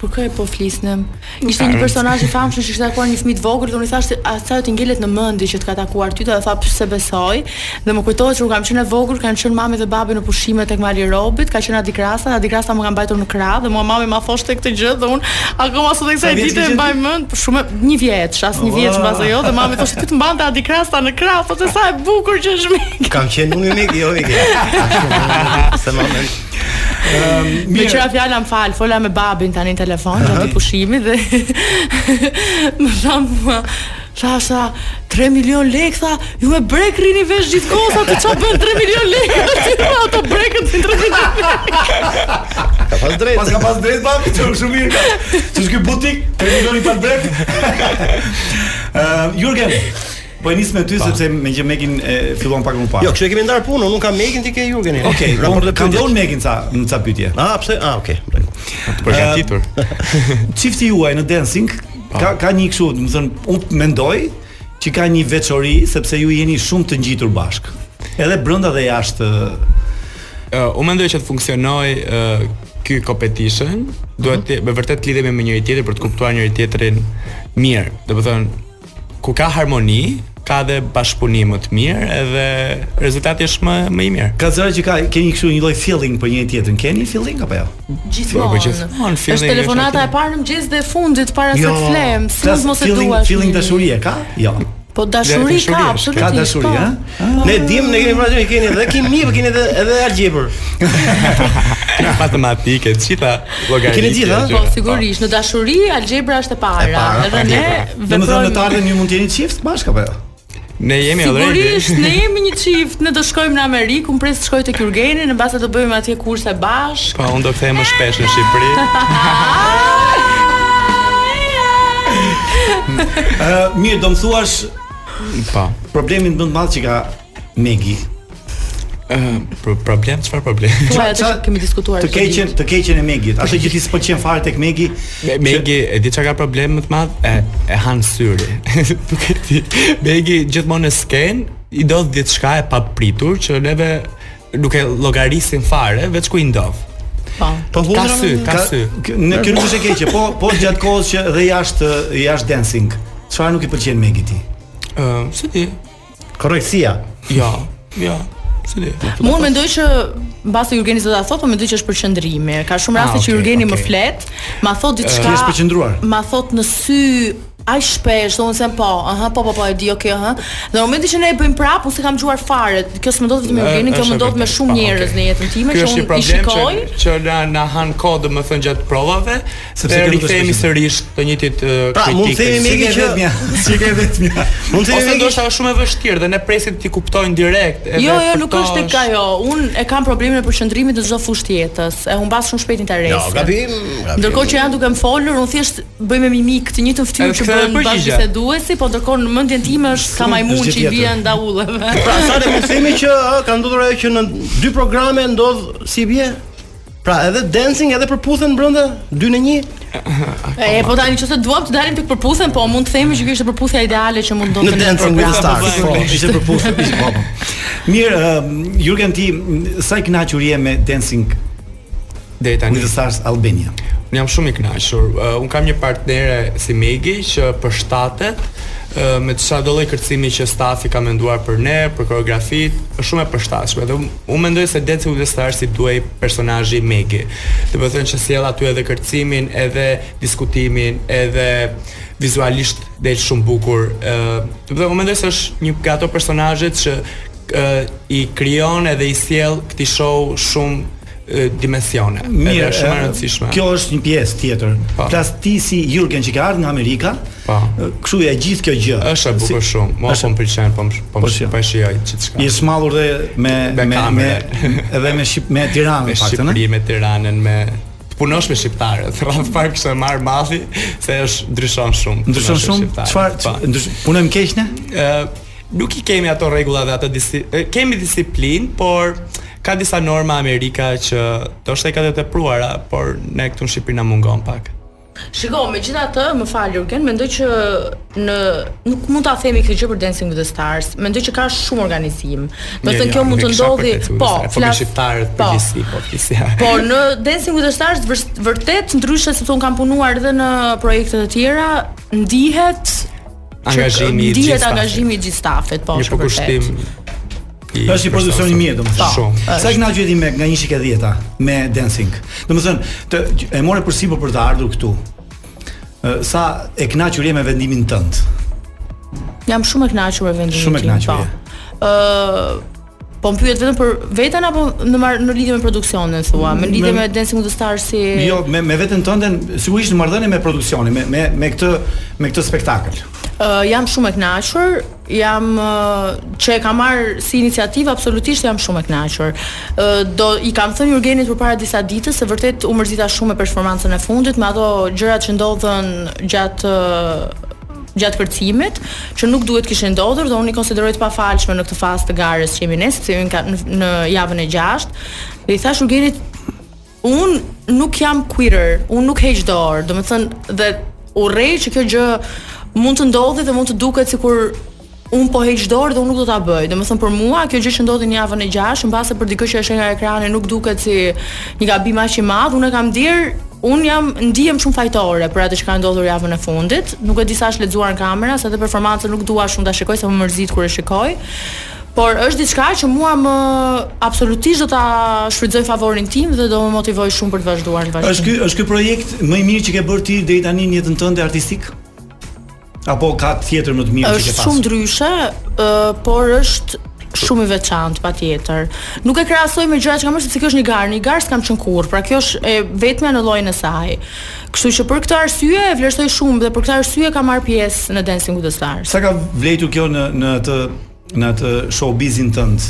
Për kë e po flisnim? Ishte një
Karën.
personazh i famshëm që kishte takuar një fëmijë të vogël dhe unë i thash se asaj të ngelet në mendje që të ka takuar ty, dhe tha pse besoj. Dhe më kujtohet se u kam qenë e vogël, kanë qenë mami dhe babi në pushime tek mali i Robit, ka qenë Adi Krasa, Adi Krasa më ka mbajtur në krah dhe mua mami ma thoshte këtë gjë dhe unë akoma sot e kësaj
Sa vjeç
dite
ishe
e
ti?
mbaj mend, për shumë një vjeç, as një vjeç mbas ajo dhe mami thoshte ti të mbante Adi Krasa në krah, thoshte sa e bukur që është mi.
Kam qenë unë unik, jo unik. Se më mend.
Me qëra fjala më fal, fola me babin tani në telefon gjatë pushimit dhe më tha mua Tha, tha, 3 milion lek, tha, ju me brek rini vesh gjithë kohë, tha, të qa bën 3 milion lek, tha, ato brekët të 3 milion lek.
Ka pas Po drejt.
Pas ka pas drejt babi, të shumë mirë ka. Ç'është ky butik? Tre milioni pa brek. Ë Jurgen, po e nis me ty sepse me që Mekin e fillon pak më parë.
Jo, kështu e kemi ndar punën, unë kam Mekin, ti ke Jurgenin.
Okej,
raport
okay,
të
kam
pyetjes.
dhënë Mekin ca në ca pyetje.
Ah, pse? Ah, okay.
Të përgatitur. Çifti juaj në dancing ka ka një kështu, do të thënë, unë mendoj që ka një veçori sepse ju jeni shumë të ngjitur bashk. Edhe brenda dhe jashtë
Uh, unë mendoj që të funksionoj uh, ky competition, duhet të me vërtet lidhemi me njëri tjetrin për të kuptuar njëri tjetrin mirë. Do të thonë ku ka harmoni, ka dhe bashkëpunim më të mirë edhe rezultati është më më i mirë.
Ka zëra që ka keni kështu një lloj feeling për njëri tjetrin. Keni feeling apo jo? Po,
Gjithmonë.
gjithmonë, feeling
Është
është
telefonata e parë në mëngjes dhe e fundit para
Jo,
se të flem, smuz mos e
feeling,
duash.
Feeling
mirë.
dashurie ka? Jo.
Po dashuri ka, absolutisht.
Ka dashuri,
po.
ha?
Ne dim, ne kemi vërtetë keni edhe kimi, keni edhe edhe algjebër.
Matematike, të gjitha llogaritike.
Keni gjitha?
gjëra.
Po sigurisht, në dashuri algebra është e para.
pra,
Edhe ne
Domethënë në të
veprojmë
ardhmen ju mund të jeni çift bashkë apo jo?
Po. Ne jemi already.
Sigurisht, ne jemi një çift, ne do shkojmë në Amerikë, unë pres të shkoj tek Jurgeni, në base do bëjmë atje kurse bashk.
Po unë do kthehem më shpesh në Shqipëri.
Ë, mirë, do më thuash
Po.
Problemin më të madh që ka Megi.
Ë, problem, çfarë problem?
Thuaj Po, atë që kemi diskutuar.
Të
çdo ditë.
keqen, të keqen e Megit. Atë që ti s'pëlqen fare tek Megi.
Me- Megi, e di çka ka problem më të madh? E, e han syri. Nuk e di. Megi gjithmonë në sken i ndodh diçka e papritur që neve nuk e llogarisin fare, veç ku i ndodh.
Po.
Po
Ka sy, ka sy.
Kë- Në kjo nuk është e keqe, po po gjatë kohës që dhe jashtë jashtë dancing. Çfarë nuk i pëlqen Megi ti?
Ë, si ti?
Korrektësia.
Jo, jo. Si ti?
Mu unë mendoj që mbasi Jurgeni do ta thotë, po mendoj që është përqendrimi. Ka shumë
Ah, Eh,
raste që
okay,
Jurgeni më
okay.
flet, ma thot diçka.
Ti je përqendruar.
Ma thot në sy aq shpesh, thonë se po, aha, po po po e di, okay, aha. Dhe në momentin që ne e bëjmë prapë, unë s'e kam dëgjuar fare. Kjo s'më ndodh vetëm me
Ë,
Jurgenin, kjo
Eh, është
më ndodh me
vërtet,
shumë
po,
njerëz në jetën time
Ky
që
është një
unë i
problem që,
shikoj.
që na, na han kohë do të thënë gjatë provave,
Sepse
sepse
kjo nuk është
rikthehemi
përqendrim.
sërish të njëjtit uh,
Pra, mund të themi Megi që si ke vetmja.
Mund të
Ose
themi
ndoshta
ndoshta është shumë e vështirë dhe ne presim ti kuptojnë direkt. edhe
Jo, jo,
për
nuk
to
është tek ajo. Unë e kam problemin e përqendrimit në çdo fushë të jetës. E humbas shumë shpejt interesin.
Jo, gabim, gabim.
Ndërkohë që janë duke më folur, unë thjesht bëj me mimik të njëjtën
Edhe
fytyrë që
ktheu
bën
përgjigje.
bashkëbiseduesi, po ndërkohë në mendjen time është ka
Shumë,
majmun
është
që i
gjithë
bien daullëve.
Pra, sa ne mund të themi që ë, ka ndodhur ajo që në dy programe ndodh si bie? Pra, edhe dancing edhe përputhen brenda 2 në 1.
E, po tani nëse duam të dalim tek përputhen, po mund të themi që kjo ishte përputhja ideale që mund
Në
ndonte
Dancing with the Stars.
Po, ishte përputhje, ishte po. Mirë, ëm, Jurgen ti m, sa i kënaqur je me Dancing
deri tani
with the Stars Albania?
Unë jam shumë i kënaqur. Uh, unë kam një partnere si Megi që përshtatet uh, me çfarë do lloj kërcimi që stafi ka menduar për ne, për koreografit, është shumë e përshtatshme. Dhe unë- unë mendoj se Dancing with the Stars i duhej personazhi Megi. Do të thënë që sjell aty edhe kërcimin, edhe diskutimin, edhe vizualisht del shumë bukur. Ë, do të thënë unë mendoj se është një nga ato personazhet që ë, i krijon edhe i sjell këtij show shumë ë, dimensione. Edhe
Mirë,
shumë e
ë,
rëndësishme.
Kjo është një pjesë tjetër. Plas ti si Jurgen që ka ardhur nga Amerika, uh,
Po.
kështu e gjithë kjo gjë.
Është e bukur shumë. Mo po më pëlqen, po më- po më po e shijoj gjithçka.
Je smallur dhe me me me, me edhe me Shqip, me Tiranë
me
në faktën,
Shqipëri, me Tiranën, me të punosh me shqiptarët. Radh parë kishte marr malli se është ndryshon shumë. të
Ndryshon
punosh me
shumë?
shqiptarët.
Çfarë
Po.
ndrysh- punojmë keq ne?
Ë, nuk i kemi ato rregulla dhe ato disi, e, kemi disiplinë, por ka disa norma Amerika që do shte i ka të tepruara, por ne këtu në Shqipëri na mungon pak.
Shiko, me gjitha të, më falë, Jurgen, mendoj që në, nuk mund ta themi këtë gjë për Dancing with the Stars, mendoj që ka shumë organizim. Do të
Jo,
thënë
jo,
kjo mund
nuk
të
isha për
ndodhi,
Dancing with the
po,
Stars, po me
flas,
shqiptarët
po.
përgjithësi, po përgjithësi.
Po në Dancing with the Stars vërs- vërtet ndryshe sepse un kam punuar edhe në projekte të tjera, ndihet që-
Angazhimi i gjithë
ndihet
stafit.
angazhimi i gjithë stafit, po.
Një
është
përkushtim.
vërtet.
Është i produksion i mirë domethënë.
Jo, Shumë.
Sa kënaqur jeti me nga 110-a me dancing. Domethënë, të e morë përsipër për të ardhur këtu. Ë, Sa e kënaqur je me vendimin tënd?
Jam shumë e kënaqur me vendimin
Shumë e
tim,
kënaqur
po.
je.
Ë Po më pyet vetëm për veten apo në mar, në lidhje me produksionin thua, me lidhje me
Me-
Dancing with the Stars si
Jo, me me veten tënde sigurisht në marrëdhënie me produksionin, me me me këtë me këtë spektakël.
Ë, jam shumë e kënaqur, jam ë, që e kam marr si iniciativë absolutisht jam shumë e kënaqur. Ë, do i kam thënë Jurgenit përpara disa ditësh se vërtet u mërzita shumë me performancën e fundit, me ato gjërat që ndodhen gjatë ë, gjatë kërcimit, që nuk duhet kishin ndodhur dhe unë i konsideroj të pafalshme në këtë fazë të garës që jemi ne, sepse jemi ka- në- në javën e 6. Dhe i thash Jurgenit un nuk jam quitter, un nuk heq dorë, do të thënë dhe urrej që kjo gjë mund të ndodhi dhe mund të duket sikur un po heq dorë dhe un nuk do ta bëj. Do të thënë për mua kjo gjë që ndodhi në javën e 6, mbase për dikë që është nga ekrani nuk duket si një gabim aq i madh, unë e kam dier Un jam ndihem shumë fajtore për atë që ka ndodhur javën e fundit. Nuk e di sa është lexuar në kamera, se edhe performancën nuk dua shumë ta shikoj, se më mërzit kur e shikoj. Por është diçka që mua më absolutisht do ta shfrytëzoj favorin tim dhe do më motivoj shumë për të vazhduar në vazhdim.
Është ky është ky projekt më i mirë që ke bërë ti deri tani në jetën tënde artistik? Apo ka tjetër më të mirë që
është
ke pasur?
shumë ndryshe, ë, por është shumë i veçantë patjetër. Nuk e krahasoj me gjëra që kam bërë sepse kjo është një garë, një garë s'kam qenë kurrë, pra kjo është e vetmja në llojin e saj. Kështu që për këtë arsye e vlerësoj shumë dhe për këtë arsye kam marr pjesë në Dancing with the Stars.
Sa ka vlejtur kjo në në atë në atë showbizin tënd?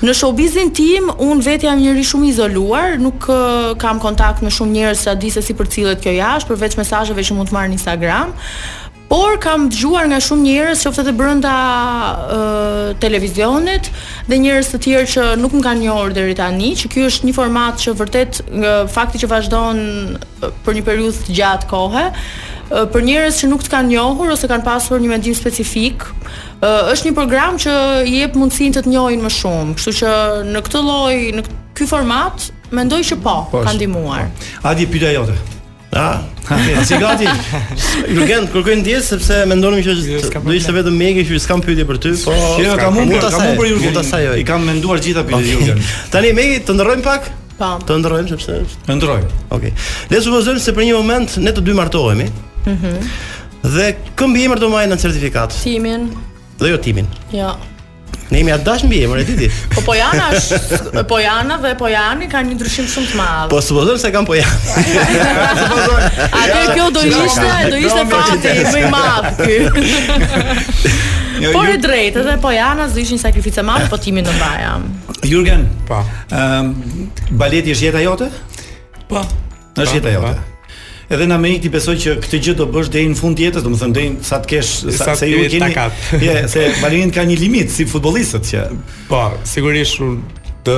Në showbizin tim, unë vetë jam njëri shumë i izoluar, nuk ë, kam kontakt me shumë njerëz sa di se si përcillet kjo jashtë, përveç mesazheve që mund të marr në Instagram. Por kam dëgjuar nga shumë njerëz, qoftë edhe brenda ë televizionit dhe njerëz të tjerë që nuk më kanë njohur deri tani, që ky është një format që vërtet ë, fakti që vazhdon ë, për një periudhë të gjatë kohe, ë, për njerëz që nuk të kanë njohur ose kanë pasur një mendim specifik, ë, është një program që i jep mundësinë të të njohin më shumë. Kështu që në këtë lloj, në k- ky format, mendoj që po,
Po,
ka
është-
ndihmuar.
Adi pyetja jote.
Ah,
si gati?
Jurgen, kërkoj ndjes sepse mendonim që është do ishte vetëm Megi që s'kam pyetje për ty, po
Që jo, kam unë,
mund ta
kam unë
sajoj,
për Jurgen.
Mund ta sajoj.
I kam menduar gjitha pyetjet
Okej.
okay. Jurgen.
Tani Megi, të ndërrojmë pak?
Po.
Të ndërrojmë sepse është.
Të ndërrojmë.
Okej. Le të supozojmë se për një moment ne të dy martohemi
Mhm.
dhe këmbi emër do marrin në certifikat
Timin,
dhe jo timin.
ja.
Ne jemi adash mbi emër e ditit.
Po Pojana është Pojana dhe po Pojani kanë një ndryshim shumë të madh.
Po supozojmë se kam po ja.
Atë kjo do ishte, do ishte fati më i madh ky.
Jo,
Por e drejtë, edhe Pojana do ishin sakrificë e madhe, po timin do mbaja.
Jurgen. Po. Ëm baleti është jeta jote?
Po.
Është jeta jote. Edhe në Amerikë ti besoj që këtë gjë do bësh deri në fund të jetës, domethënë deri sa të kesh
Sa të jetë takat.
je se balerinit ka një limit si futbollistët që
Po, sigurisht unë të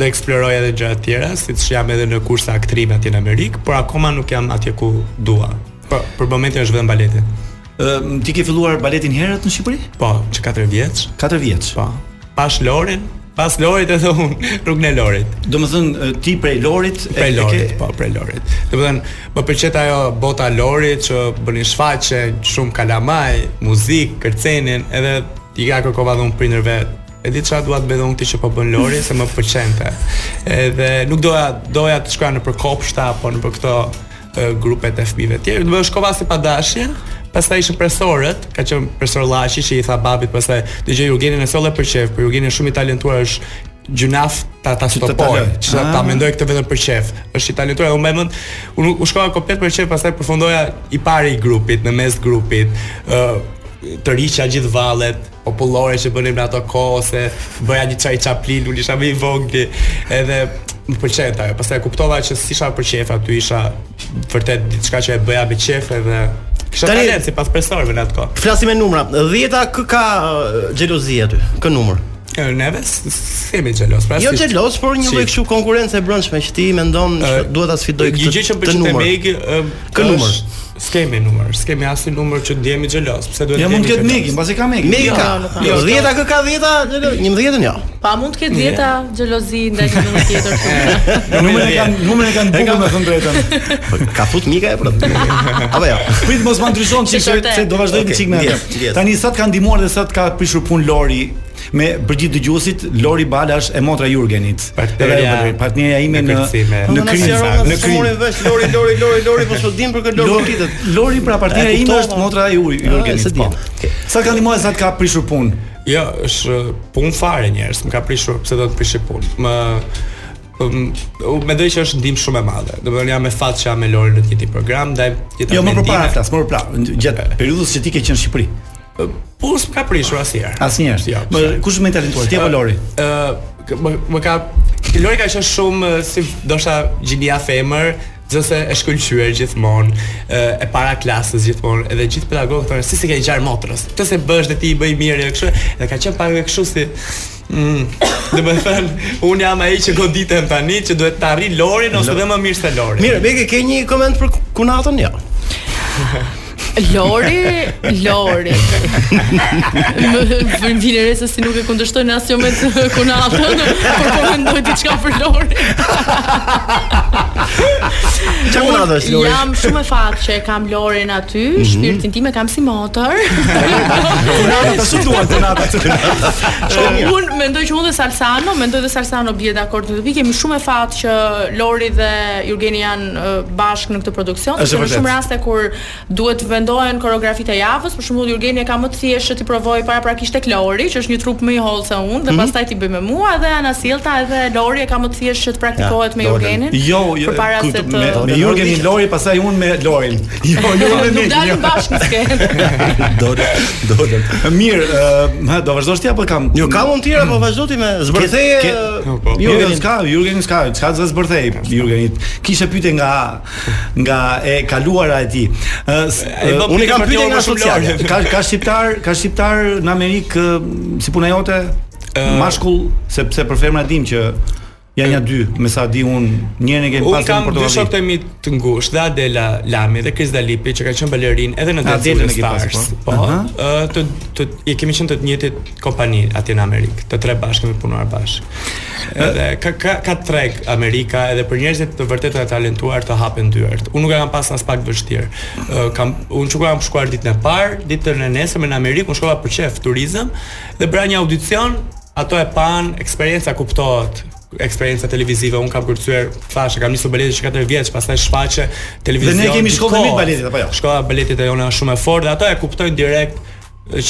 do eksploroj edhe gjëra të tjera, siç jam edhe në kursa aktrimi atje në Amerikë, por akoma nuk jam atje ku dua. Po, për momentin është vetëm baleti.
Ëm ehm, ti ke filluar baletin herët në Shqipëri?
Po, që 4 vjeç.
4 vjeç.
Po. Pas Lorin, pas Lorit edhe unë rrugën e Lorit.
Domethënë ti prej Lorit
Prej Lorit, po, prej Lorit. Domethënë, më pëlqet ajo bota e Lorit që bënin shfaqe, shumë kalamaj, muzikë, kërcenin, edhe i ka kërkova dhe unë prindërve E di çfarë dua të bëj dhe unë këtë që po bën Lori se më pëlqente. Edhe nuk doja doja të shkoja në për kopshta apo në për këto e, grupet e fëmijëve të tjerë. Do të shkova si padashje, pastaj ishin presorët, ka qenë presor Llaçi që i tha babit pastaj dëgjoj Jurgenin e solle për çef, por Jurgeni është shumë i talentuar, është gjunaf ta ta
ta
stopoj,
loj.
që ta
Ah.
mendoj këtë vetëm për çef. Është i talentuar, unë më mend, unë u shkova komplet për çef, pastaj përfundoja i pari i grupit, në mes grupit. ë të riqja gjithë vallet popullore që bënim në ato kohë ose bëja një çaj çaplin, unë isha më i vogël. Edhe më pëlqente ajo. Pastaj kuptova që s'isha për çef aty, isha vërtet diçka që e bëja me çef edhe kisha
Tani-
talent sipas profesorëve në atë kohë.
Flasim me numra. 10-a kë ka uh, xhelozi aty? Kë numër?
E, Neve s- s'kemi xhelos. Pra
Jo
si-
xhelos, por një
si-
lloj kështu konkurrence e brendshme që ti mendon që
Ë,
duhet ta sfidoj
Një gjë që
këtë
më
të
pëlqen te
numër.
Megi,
Kë numër?
S'kemi numër, s'kemi asnjë numër që ndjehemi xhelos. Pse duhet
Ja,
të
mund
jemi
t'ketë
xhelos?
Megi, mbasi ka Megi.
Megi ka. Jo, 10-a kë ka 10-a, 11-ën jo.
Pa mund të ketë dieta xhelozi ndaj një numri tjetër.
po.
Numrin e kanë, numrin e kanë bukur me thënë drejtën.
Po, Ka fut Mika e prot. Apo jo.
Prit mos ma ndryshon çik se
Vërtet.
se do vazhdojmë
Okej,
çik me
ndjes,
atë.
ndjes.
Tani sa të ka ndihmuar dhe sa të ka prishur punë Lori me përgjithë dëgjuesit Lori Bala është e motra Jurgenit.
Partnerja-
Edhe ajo, partnerja ime në
kërcime.
në krim, në krim.
vesh Lori Lori Lori Lori po sodim për këtë Lori
Lori,
kitet.
Lori pra partnerja
E
ime
kuptova.
është motra e Uri-
Ah,
Jurgenit.
se di.
po.
Okej.
Sa të ka ndihmuar dhe sa të ka prishur punë?
Jo, është uh, punë fare njerëz, më ka prishur, pse do të prishë punë. Më um, u mendoj që është ndihmë shumë e madhe. Do të thonë jam e fat që jam me Lorin në të njëjtin program, ndaj jeta
Jo, më përpara flas, më përpara. Gjatë periudhës që ti ke qenë në Shqipëri.
Po s'm ka prishur asnjëherë.
Asnjëherë.
Jo,
Më kush më i talentuar? Ti apo Lori?
Ë, më, më ka Lori ka qenë shumë ë, si ndoshta gjinia femër, gjithse e shkëlqyer gjithmonë, ë, e para klasës gjithmonë, edhe gjithë pedagogët thonë si se ke ngjar motrës. Të se bësh dhe ti i bëj mirë e kështu, edhe ka qenë pak e kështu si Mm, do të thënë, unë jam ai që goditem tani që duhet të arri Lorin ose edhe më mirë se Lori.
Mirë, Beke ke një koment për Kunatën? Jo.
Lori, Lori. Më më vjen re se si nuk e kundërshtoj në asnjë moment kunatën, por po mendoj diçka për Lori.
Çka Kunata është Lori?
Jam shumë e fat që e kam Lorin aty, shpirtin tim e kam si motor.
Kunata, si duan Kunata?
Unë mendoj që unë dhe Salsano, mendoj dhe Salsano bie dakord në këtë pikë, jemi shumë e fat që Lori dhe Jurgeni janë ë, bashkë në këtë produksion,
Është
sepse në
vërtet.
shumë raste kur duhet të vendohen koreografitë e javës, për shembull Jurgeni e ka më të thjeshtë që ti provoj paraprakisht tek Lori, që është një trup më i hollë se unë,
Mhm.
dhe pastaj ti bëj me mua dhe Ana Sillta edhe Lori e ka më të thjeshtë që të praktikohet me
Lori.
Jurgenin.
Jo, jo,
përpara
kujt-
se të
me, me Jurgenin Lori, pastaj unë me Lorin. Jo, jo me
Nuk dalin
Mekin.
bashkë në skenë.
Dolën, dolën.
Mirë, ë, ha, do vazhdosh ti apo kam? Jo,
Jo, ka mund tjera, po vazhdo ti me zbërtheje.
Ke-
Po.
Jurgen
Jurgenin.
ska, Jurgen ska, ska zë zbërthej Jurgenit. Kishe pyetje nga nga e kaluara e tij. Ë, s-
do
ë,
Unë i
Pyetje
kam
për
pyetje
Lori,
nga
shumë
sociale.
Lori.
Ka ka shqiptar, ka shqiptar në Amerikë ë, si puna jote? Eh,
Ë,
Mashkull, sepse për femra dim që janë ja dy, me sa di eh, unë, njërin e kemi
Unë
pasur në
kam dy shokë
Portokalli.
të mi të ngushtë, dhe Adela Lami dhe Kris Dalipi që ka qenë balerin edhe në
Adelën
Dancing with
e ke pasur,
Stars.
po.
Po,
Aha.
ë, të të i kemi qenë të të njëjtit kompani atje në Amerikë, të tre bashkë kemi punuar bashkë. Edhe ka ka ka treg Amerika edhe për njerëzit të vërtetë të talentuar të hapen dyert. Unë nuk e kam pas as pak vështirë. Ë, kam unë çu kam shkuar ditën e parë, ditën e nesërme në Amerikë, unë shkova për çef turizëm dhe bëra një audicion, ato e pan, eksperjenca kuptohet eksperjenca televizive, un kam kërcyer, thashë kam nisur baletin që 4 vjeç, pastaj shfaqe televizion.
Dhe ne kemi
ditë
shkollën e mirë
kohë.
baletit, apo jo?
Shkolla e baletit e jona është shumë e fortë dhe ata e kuptojnë direkt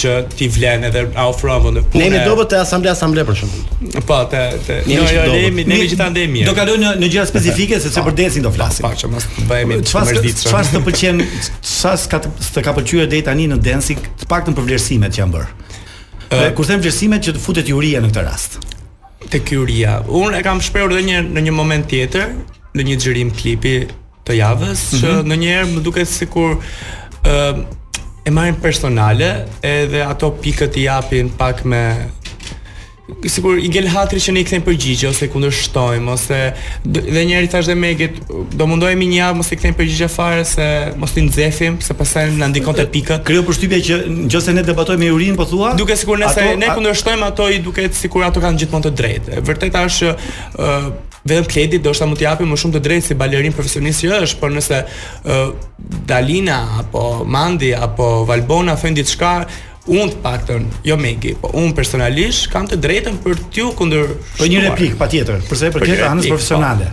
që ti vlen edhe a ofron vende pune.
Ne jemi dobët te asamble asamble për shembull.
Po, te te.
Ne
Jo,
jemi
jo,
dobët.
ne jemi ne jemi gjithandaj mirë.
Do kaloj në në gjëra specifike sepse për desin do flasim.
pak që mos bëhemi të
Çfarë
mërzitshëm.
çfarë të pëlqen, çfarë s'ka të, të ka pëlqyer deri tani në dancing, të paktën për vlerësimet që janë bërë. Dhe kur them vlerësimet që të futet juria në këtë rast.
te Kyria. Unë e kam shprehur edhe një në një moment tjetër, në një xhirim klipi të javës, që ndonjëherë më duket sikur ë e marrin personale edhe ato pikët i japin pak me sikur i gel hatri që ne i kthejmë përgjigje ose i kundërshtojmë ose d- dhe njëri thash dhe Megit do mundohemi një javë mos i kthejmë përgjigje fare se mos i nxefim se pastaj na ndikon te pikët.
Kreu përshtypje që nëse ne debatojmë me jurin, po thua,
Duke sikur nëse
ato-
ne
a-
kundërshtojmë ato i duket sikur ato kanë gjithmonë të drejtë. Vërteta është që uh, vetëm Kledi do shta mund t'i japim më shumë të drejtë si balerin profesionist që është, por nëse uh, Dalina apo Mandi apo Valbona thënë diçka, unë të paktën, jo Megi, po unë personalisht kam të drejtën për t'ju kundër
Për një replik patjetër, përse për këtë anës profesionale.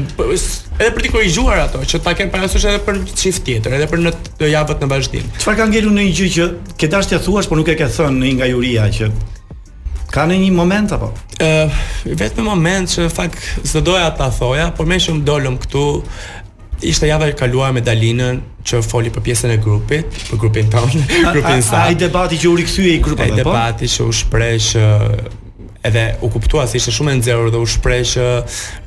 Edhe për t'i korrigjuar ato, që ta kenë parasysh edhe për një çift tjetër, edhe për në të javët në vazhdim.
Çfarë ka ngelur në një gjë që ke dashur t'ia thuash, por nuk e ke thënë në një nga juria që ka në një moment apo?
Ë, vetëm moment që fakt s'do doja ta thoja, por më shumë dolëm këtu ishte java e kaluar me Dalinën që foli për pjesën e grupit, për grupin tonë,
A-
grupin
a-
sa.
Ai debati që u rikthye i
Ai
grupave, po?
debati që u shpreh që edhe u kuptua se ishte shumë e nxehur dhe u shpreh që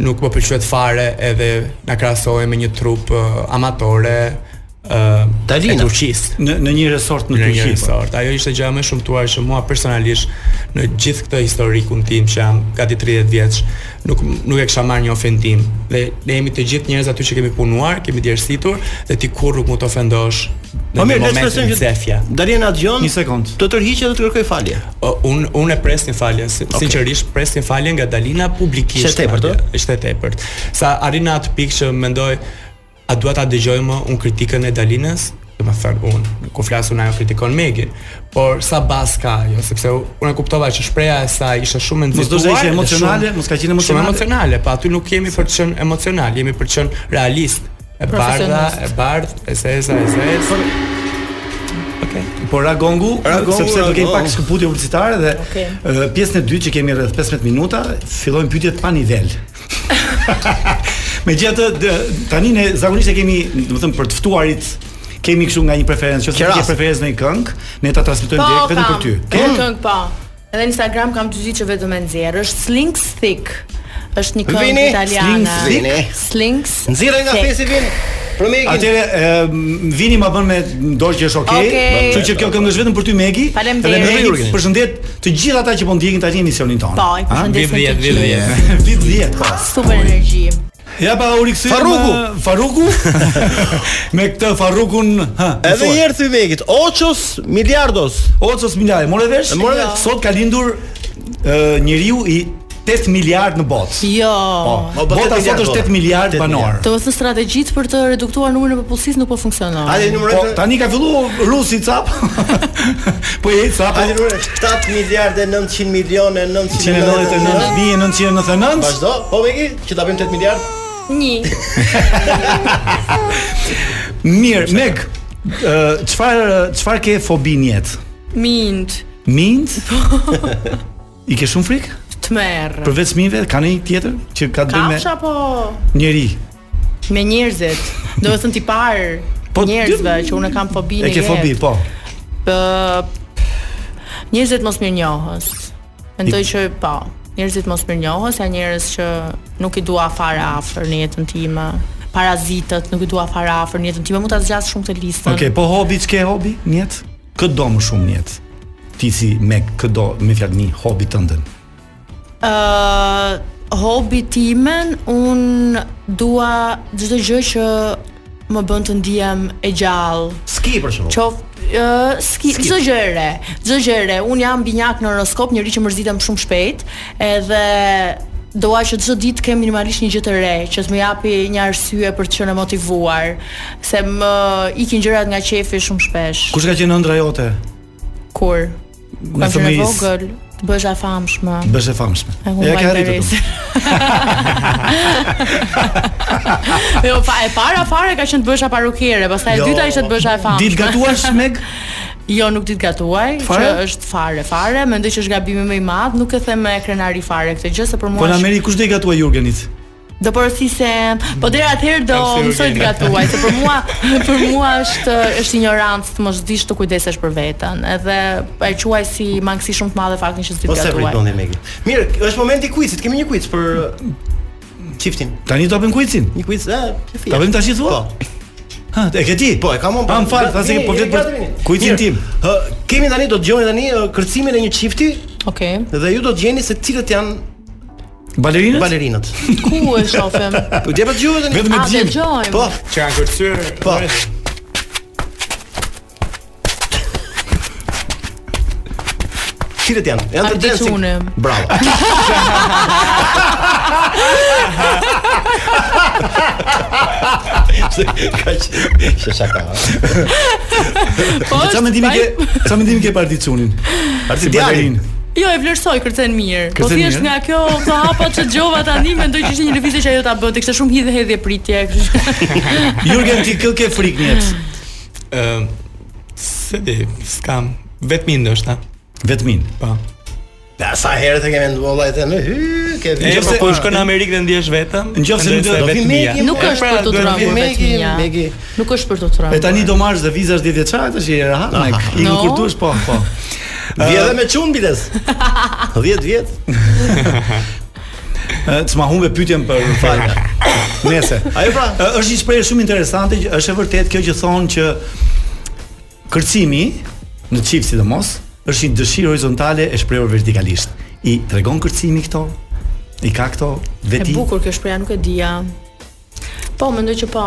nuk më pëlqet fare edhe na krahasohej me një trup ë, amatore
ë
Talina.
e Turqisë.
Në në një resort në
Në
Turqi,
një
po.
resort. Ajo ishte gjëja më e shumtuar që mua personalisht në gjithë këtë historikun tim që jam gati 30 vjeç, nuk nuk e kisha marrë një ofendim. Dhe ne jemi të gjithë njerëz aty që kemi punuar, kemi djersitur dhe ti kur nuk mund të ofendosh. në
Po
një
mirë, le të
moment
shpresojmë
në
që
cefja.
Dalina dëgjon.
Një sekond.
Të tërhiqet dhe të kërkoj falje.
O, un un e pres një falje, si- sinqerisht pres një falje nga Dalina publikisht.
Ishte e tepërt,
madje. Ishte e tepërt. Sa arrin në atë pikë që mendoj a dua ta dëgjoj më un kritikën e Dalinës? Do të thënë un, ku flas unë ajo kritikon Megin, por sa bas ka ajo, sepse unë e kuptova që shpreha e saj ishte shumë e
Mos
nxituar.
do të ishte
dhe shumë-
emocionale, mos ka qenë emocionale.
Shumë emocionale, pa aty nuk jemi për të qenë emocional, jemi për të qenë realist. E bardha,
Profesionist.
e bardh, e sesa, e sesa. Okej.
Po Ragongu,
Ragongu,
sepse do kemi
Ragongu.
pak shkëputje publicitare dhe
Okej.
ë, pjesën e dytë që kemi rreth 15 minuta, fillojnë pyetjet pa nivel. Megjithatë dë- tani ne zakonisht e kemi, do të thëmë për të ftuarit kemi kështu nga një preferencë, nëse ti
Qeras.
ke preferencë në një këngë, ne ta transmetojmë direkt vetëm për ty.
Ke Po, këngë po. Edhe në Instagram kam gjyqi që vetëm e nxjerr. Është Slinks Thick. Është një këngë
Vini,
italiane.
Slinks Thick. Vini.
Slinks.
Nxirre nga
Thick.
fesi vin. Për Megin.
Atëre ë, vini ma bën me dorë që është okay.
Okej.
Kështu që kjo këngë është vetëm për ty Megi.
Faleminderit.
Dhe Megi,
Faleminderit.
përshëndet të gjithë ata që po ndjekin tani emisionin tonë.
Po, i përshëndesim
Ha?
të
Vit 10, vit po. 10. Vit 10.
Super energji.
Ja pa u rikthyem.
Farruku.
eh, Farruku. me këtë Farrukun, ha.
Edhe një herë thy Megit, Oços Miliardos.
Ocos Milaj, more vesh?
More vesh.
Sot ka lindur ë, njeriu i 8 miliard në botë.
Jo.
Po,
Po, po,
bota
8
sot
miliard
është
bota.
8 miliard banor.
Të vësë strategjitë për të reduktuar numrin e popullsisë nuk po funksionon.
Hajde numëre.
Po, tani ka filluar rusi cap. po e cap.
Hajde numëre 7 miliardë 900 milionë 999.
1999.999
Vazhdo. Po Megi, që ta bëjmë 8 miliard.
Një.
Mirë, Meg, ë, çfarë çfarë ke fobi në jetë?
Mint.
Mint? I ke shumë frikë?
Tmerr.
Përveç minve, ka një tjetër që ka të bëjë
Kafsh apo
me njeri?
me njerëzit? Do të thënë tipar
Po,
njerëzve
ti-
që unë kam fobinë.
E ke fobi, po.
Pë, njerëzit mos mirënjohës. Mendoj që po, njerëzit mos mirënjohës, janë njerëz që nuk i dua fare afër në jetën time. Parazitët nuk i dua fare afër në jetën time. Mund ta zgjas shumë të listën.
Okej, po hobi, ç'ke hobi në jetë? Kë do më shumë në jetë? Ti si Meg, kë do me fjalë një hobi tëndën?
Ë, hobi timen un dua çdo gjë që më bën të ndihem e gjallë.
Ski për shembull.
Qof Po, ë ski çdo gjë e re, çdo gjë e re. Un jam binjak në horoskop, njëri që mërzitem shumë shpejt, edhe doa që çdo ditë kem minimalisht një gjë të re, që të më japi një arsye për të qenë e motivuar, se më ikin gjërat nga qefi shumë shpesh.
Kush ka qenë ëndra jote?
Kur?
Në
Kam qenë e
fëmijës.
vogël, të bëhesh e famshme.
Bësh e famshme.
E
Ja
humba
ke arritur.
interes. jo, pa, e para fare ka qenë të bësha parukere, pastaj e
Jo,
dyta ishte të bësha e famë.
Ditë gatuash Meg?
Jo, nuk ditë gatuaj,
Fare?
që është fare, fare, mendoj që është gabimi më i madh, nuk e them me krenari fare këtë gjë se për
Po
mua
në
është
Ameri kush do i gatuaj Jurgenit?
do porosisem, po deri atëherë do
Kam si
mësoj të
urgjena.
gatuaj, se për mua për mua është është ignorancë të mos dish të kujdesesh për veten, edhe e quaj si mangësi shumë të madhe faktin që s'di
Po
të
se prit
gatuaj.
mendi Megi. Mirë, është momenti i quizit. Kemi një quiz për uh, çiftin.
Tani do bëjmë kuicin.
Një quiz, e, e fia.
Ta bëjmë tash i thua? Ha, e ke ti?
Po, e kam unë.
Pa, më fal, tha se ke- po flet për kuicin tim.
Ë, kemi tani do dëgjoni tani ë, kërcimin e një çifti
Okej.
dhe ju do të gjeni se cilët janë
Balerinët?
balerinat.
Ku e shohim?
Po djepa dëgjoj tani.
Vetëm me
A
gjim.
dëgjojmë?
Po,
Që kanë kërcyer.
po. Cilët janë? Janë të
Ardi Çuni.
Bravo. Se ka që shaka.
Po.
Sa
është
mendimi
baj-
ke? Sa mendimi ke për Articunin? Si
djalin.
balerin.
Jo, e vlerësoj kërcen mirë. Po
Kërcen
thjesht
mirë.
nga kjo këto hapa që dëgjova tani, mendoj që ishte një lëvizje që ajo ta bënte, kishte shumë hidhe hedhje pritje. kështu që-
Jurgen ti kë ke frikë në jetë?
Ëm se di, skam vetëm ndoshta.
Vetmin.
Po.
Ja, sa herë të kemi nduar vllai të në hy, ke
Nëse
vjen.
po shkon në Amerikë dhe ndihesh vetëm,
Nëse do- do
vi
vetmia.
Megi,
Nuk
E,
është
pra,
për të
duhet vi
trembuar
Megi.
Megi, Megi.
vetmja. Nuk është për të
E
trembuar.
tani do marrësh dhe vizash 10 vjeçare, tash je rahat Meg. I
No.
kurtush po, po.
Vjen edhe me çun biles. 10 vjet.
S'ma humbe pyetjen për fal. Nese. Ajo pra, ë, është një shprehje shumë interesante, që është e vërtetë kjo që thonë që kërcimi në çift sidomos është një dëshirë horizontale e shprehur vertikalisht. I tregon kërcimi këto, i ka këto
E
veti.
bukur kjo shpreha, nuk e dija. Po, mendoj që po.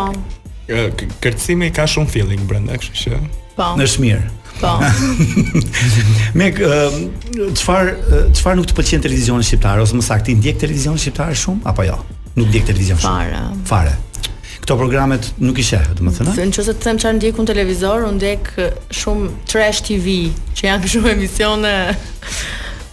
Ë, k- Kërcimi ka shumë feeling brenda, kështu që
Po.
Është mirë.
Po.
Me k- ë, çfarë ë, çfarë nuk të pëlqen televizioni shqiptar ose më saktë ti ndjek televizion shqiptar shumë apo jo? Nuk ndjek televizion shumë. Fare. Fare. Këto programet nuk i sheh, domethënë.
Se Në qëse të them çfarë ndjek unë televizor, unë ndjek eh, shumë trash TV, që janë shumë emisione.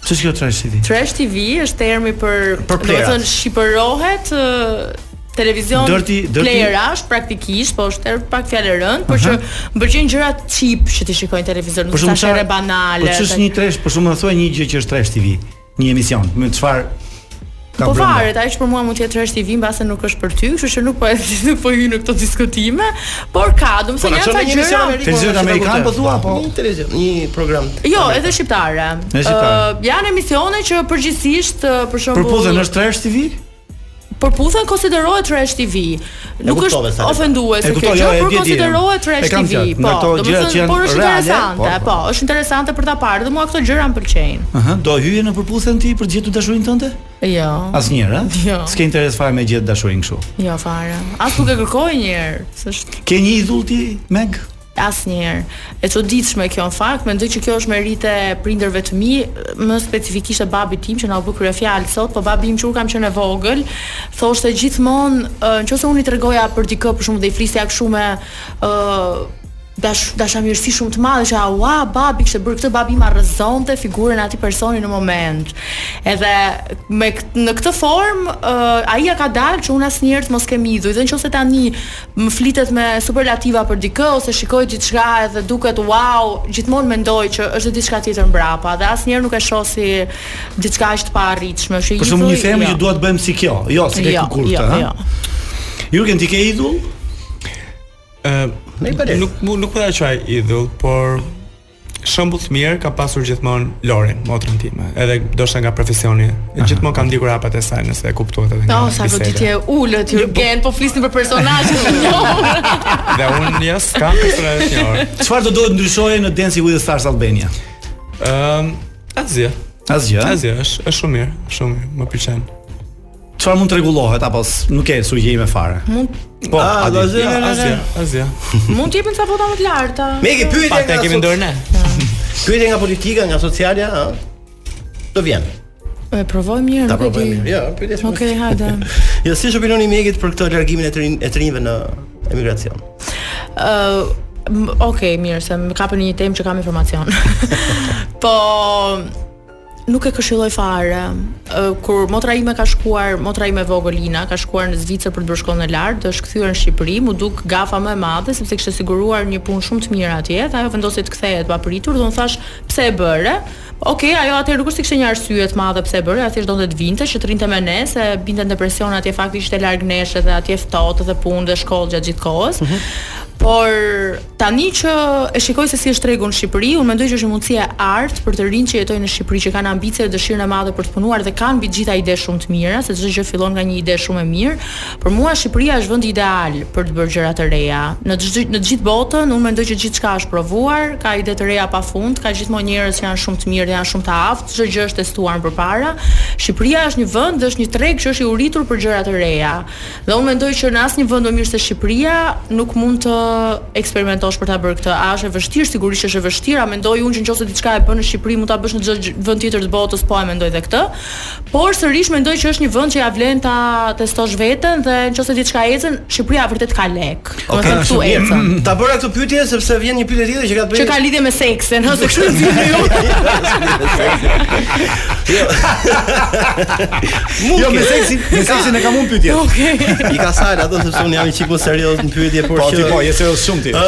Ç'është kjo trash TV?
Trash TV është termi për,
Për plerat.
domethënë, shqipërohet eh, televizion
Dirty- dirty-
playerash praktikisht, po është er- pak fjalë e rëndë, por që më pëlqejnë gjëra cheap që ti shikojnë televizion, nuk
Për
është
shkak-
ashere banale.
Po ç'është një trash, për shkakun thua një gjë që është trash TV, një emision, me çfarë ka
Po
brenda?
varet, ajo që për mua mund të jetë trash TV mbase nuk është për ty, kështu që nuk po e nuk po hy në këto diskutime, por ka,
Po
domethënë
na
janë
çon në
ca
një
gjëra.
emision amerikan.
po thua, po.
Një televizion, një program.
Jo, edhe shqiptare.
Edhe shqiptare.
Ë, janë emisione që përgjithsisht ë, për shembull
Përputhen është trash TV?
Përputhen konsiderohet trash TV. Nuk
kuptove,
është
Sara.
ofenduese
E
kjo
kuptoj,
gjë,
jo, e
por
di, di,
konsiderohet
e
trash
kam
TV.
qartë. Nga
Po,
ato gjërat që
domethënë,
janë
por është
reale,
interesante,
po, Ah. po.
po, është interesante për ta parë dhe mua këto gjëra më pëlqejnë.
Aha, do hyje në përputhen ti për të gjetur dashurinë tënde?
Jo.
Asnjëherë, a?
Jo.
S'ke interes fare me gjetë dashurinë kështu.
Jo fare. As nuk e kërkoj një herë, s'është.
Ke një idhull ti, Meg?
Asnjëherë. E çuditshme kjo në fakt, mendoj që kjo është merite e prindërve të mi, më spesifikisht e babit tim që na u bë kryefjalë sot, po babi im që kur kam qenë e vogël, thoshte gjithmonë, ë, nëse unë i tregoja për dikë për shkak dhe i flisja kështu me ë dash dashamirësi shumë të madhe që ua babi kishte bërë këtë babi ma rrezonte figurën e atij personi në moment. Edhe me kët- në këtë formë uh, ai ja ka dalë që unë asnjëherë të mos kem idhuj. Dhe nëse tani më flitet me superlativa për dikë ose shikoj diçka edhe duket wow, gjithmonë mendoj që është diçka tjetër mbrapa dhe asnjëherë nuk e shoh si diçka aq të paarritshme. Që
Për shkakun
idhuj-
një themë që
jo.
dua të bëjmë si kjo. Jo, s'ke
Jo,
ku kurta,
jo,
ha?
jo.
Jurgen, ti ke idhull?
ë nuk mu- nuk mund ta quaj idhull, por shembull të mirë ka pasur gjithmonë Lorin, motrën time, edhe ndoshta nga profesioni. E gjithmonë kam ndjekur hapat e saj, nëse e kuptohet edhe nga.
Oh, sa
biseda.
goditje ulët Jurgen, po flisni për personazhe të njohur.
Dhe unë jas kam personazhe të njohur.
Çfarë do dohet ndryshoje në Dancing with the Stars Albania?
Ëm, asgjë.
Asgjë, a?
Asgjë, Ehm, është është shumë mirë, shumë mirë, më pëlqen.
Çfarë mund të rregullohet apo s- nuk ke sugjime fare?
Mund
Po, a di?
Jo, asgjë, asgjë.
mund të jepin ca bota më të larta.
Megi pyetje.
Pak e kemi ndër ne.
Pyetje nga politika, nga socialja, ha? Do vjen.
E provoj mirë,
Ta
nuk e
provoj
di.
mirë. Jo, pyetje shumë.
Okej, hajde.
Jo, si është opinioni i Megit për këtë largimin e të rinj- e të rinjve në emigracion?
Po, Ë, m- Okej, mirë, se më kapën një temë që kam informacion. po nuk e këshilloj fare. Ë, Kur motra ime ka shkuar, motra ime e vogël Ina ka shkuar në Zvicër për të bërë shkollën e lartë, është kthyer në Shqipëri, mu duk gafa më e madhe sepse kishte siguruar një punë shumë të mirë atje, dhe ajo vendosi të kthehet pa pritur, dhe unë thash pse e bëre? Okej, ajo atëherë nuk është se kishte një arsye të madhe pse e bëre, ajo thjesht donte të vinte, që të rrinte me ne, se binte në depresion atje fakti ishte larg nesh dhe atje ftohtë dhe punë dhe shkollë gjatë gjithë kohës. Por tani që e shikoj se si është tregu në Shqipëri, unë mendoj që është një mundësi e artë për të rinj që jetojnë në Shqipëri, që kanë ambicie dhe dëshirën e madhe për të punuar dhe kanë mbi të gjitha ide shumë të mira, se çdo gjë fillon nga një ide shumë e mirë. Për mua Shqipëria është vendi ideal për të bërë gjëra të reja. Në çdo në të gjithë botën, unë mendoj që gjithçka është provuar, ka ide të reja pafund, ka gjithmonë njerëz që janë shumë të mirë dhe janë shumë të aftë, çdo gjë është testuar më përpara. Shqipëria është një vend, dhe është një treg që është i uritur për gjëra të reja. Dhe unë mendoj që në asnjë vend më mirë se Shqipëria nuk mund të eksperimentosh për ta bërë këtë. A është e vështirë? Sigurisht që është e vështirë. A mendoj unë që nëse diçka e bën në Shqipëri mund ta bësh në çdo gjë- vend tjetër të botës, po e mendoj edhe këtë. Por sërish mendoj që është një vend që ja vlen ta testosh veten dhe nëse diçka ecën, Shqipëria vërtet ka lek. Domethënë këtu ecën.
Mm, Ta bëra këtë pyetje sepse vjen një pyetje tjetër që ka të bëjë
Që ka lidhje me seksin, ose kështu nxjerrni ju.
Jo, me seksin, me seksin e kam unë pyetjen.
Okej.
I ka sajt ato sepse unë jam i qik më serioz në pyetje por
Po, ti po, je serioz shumë ti.
Ë,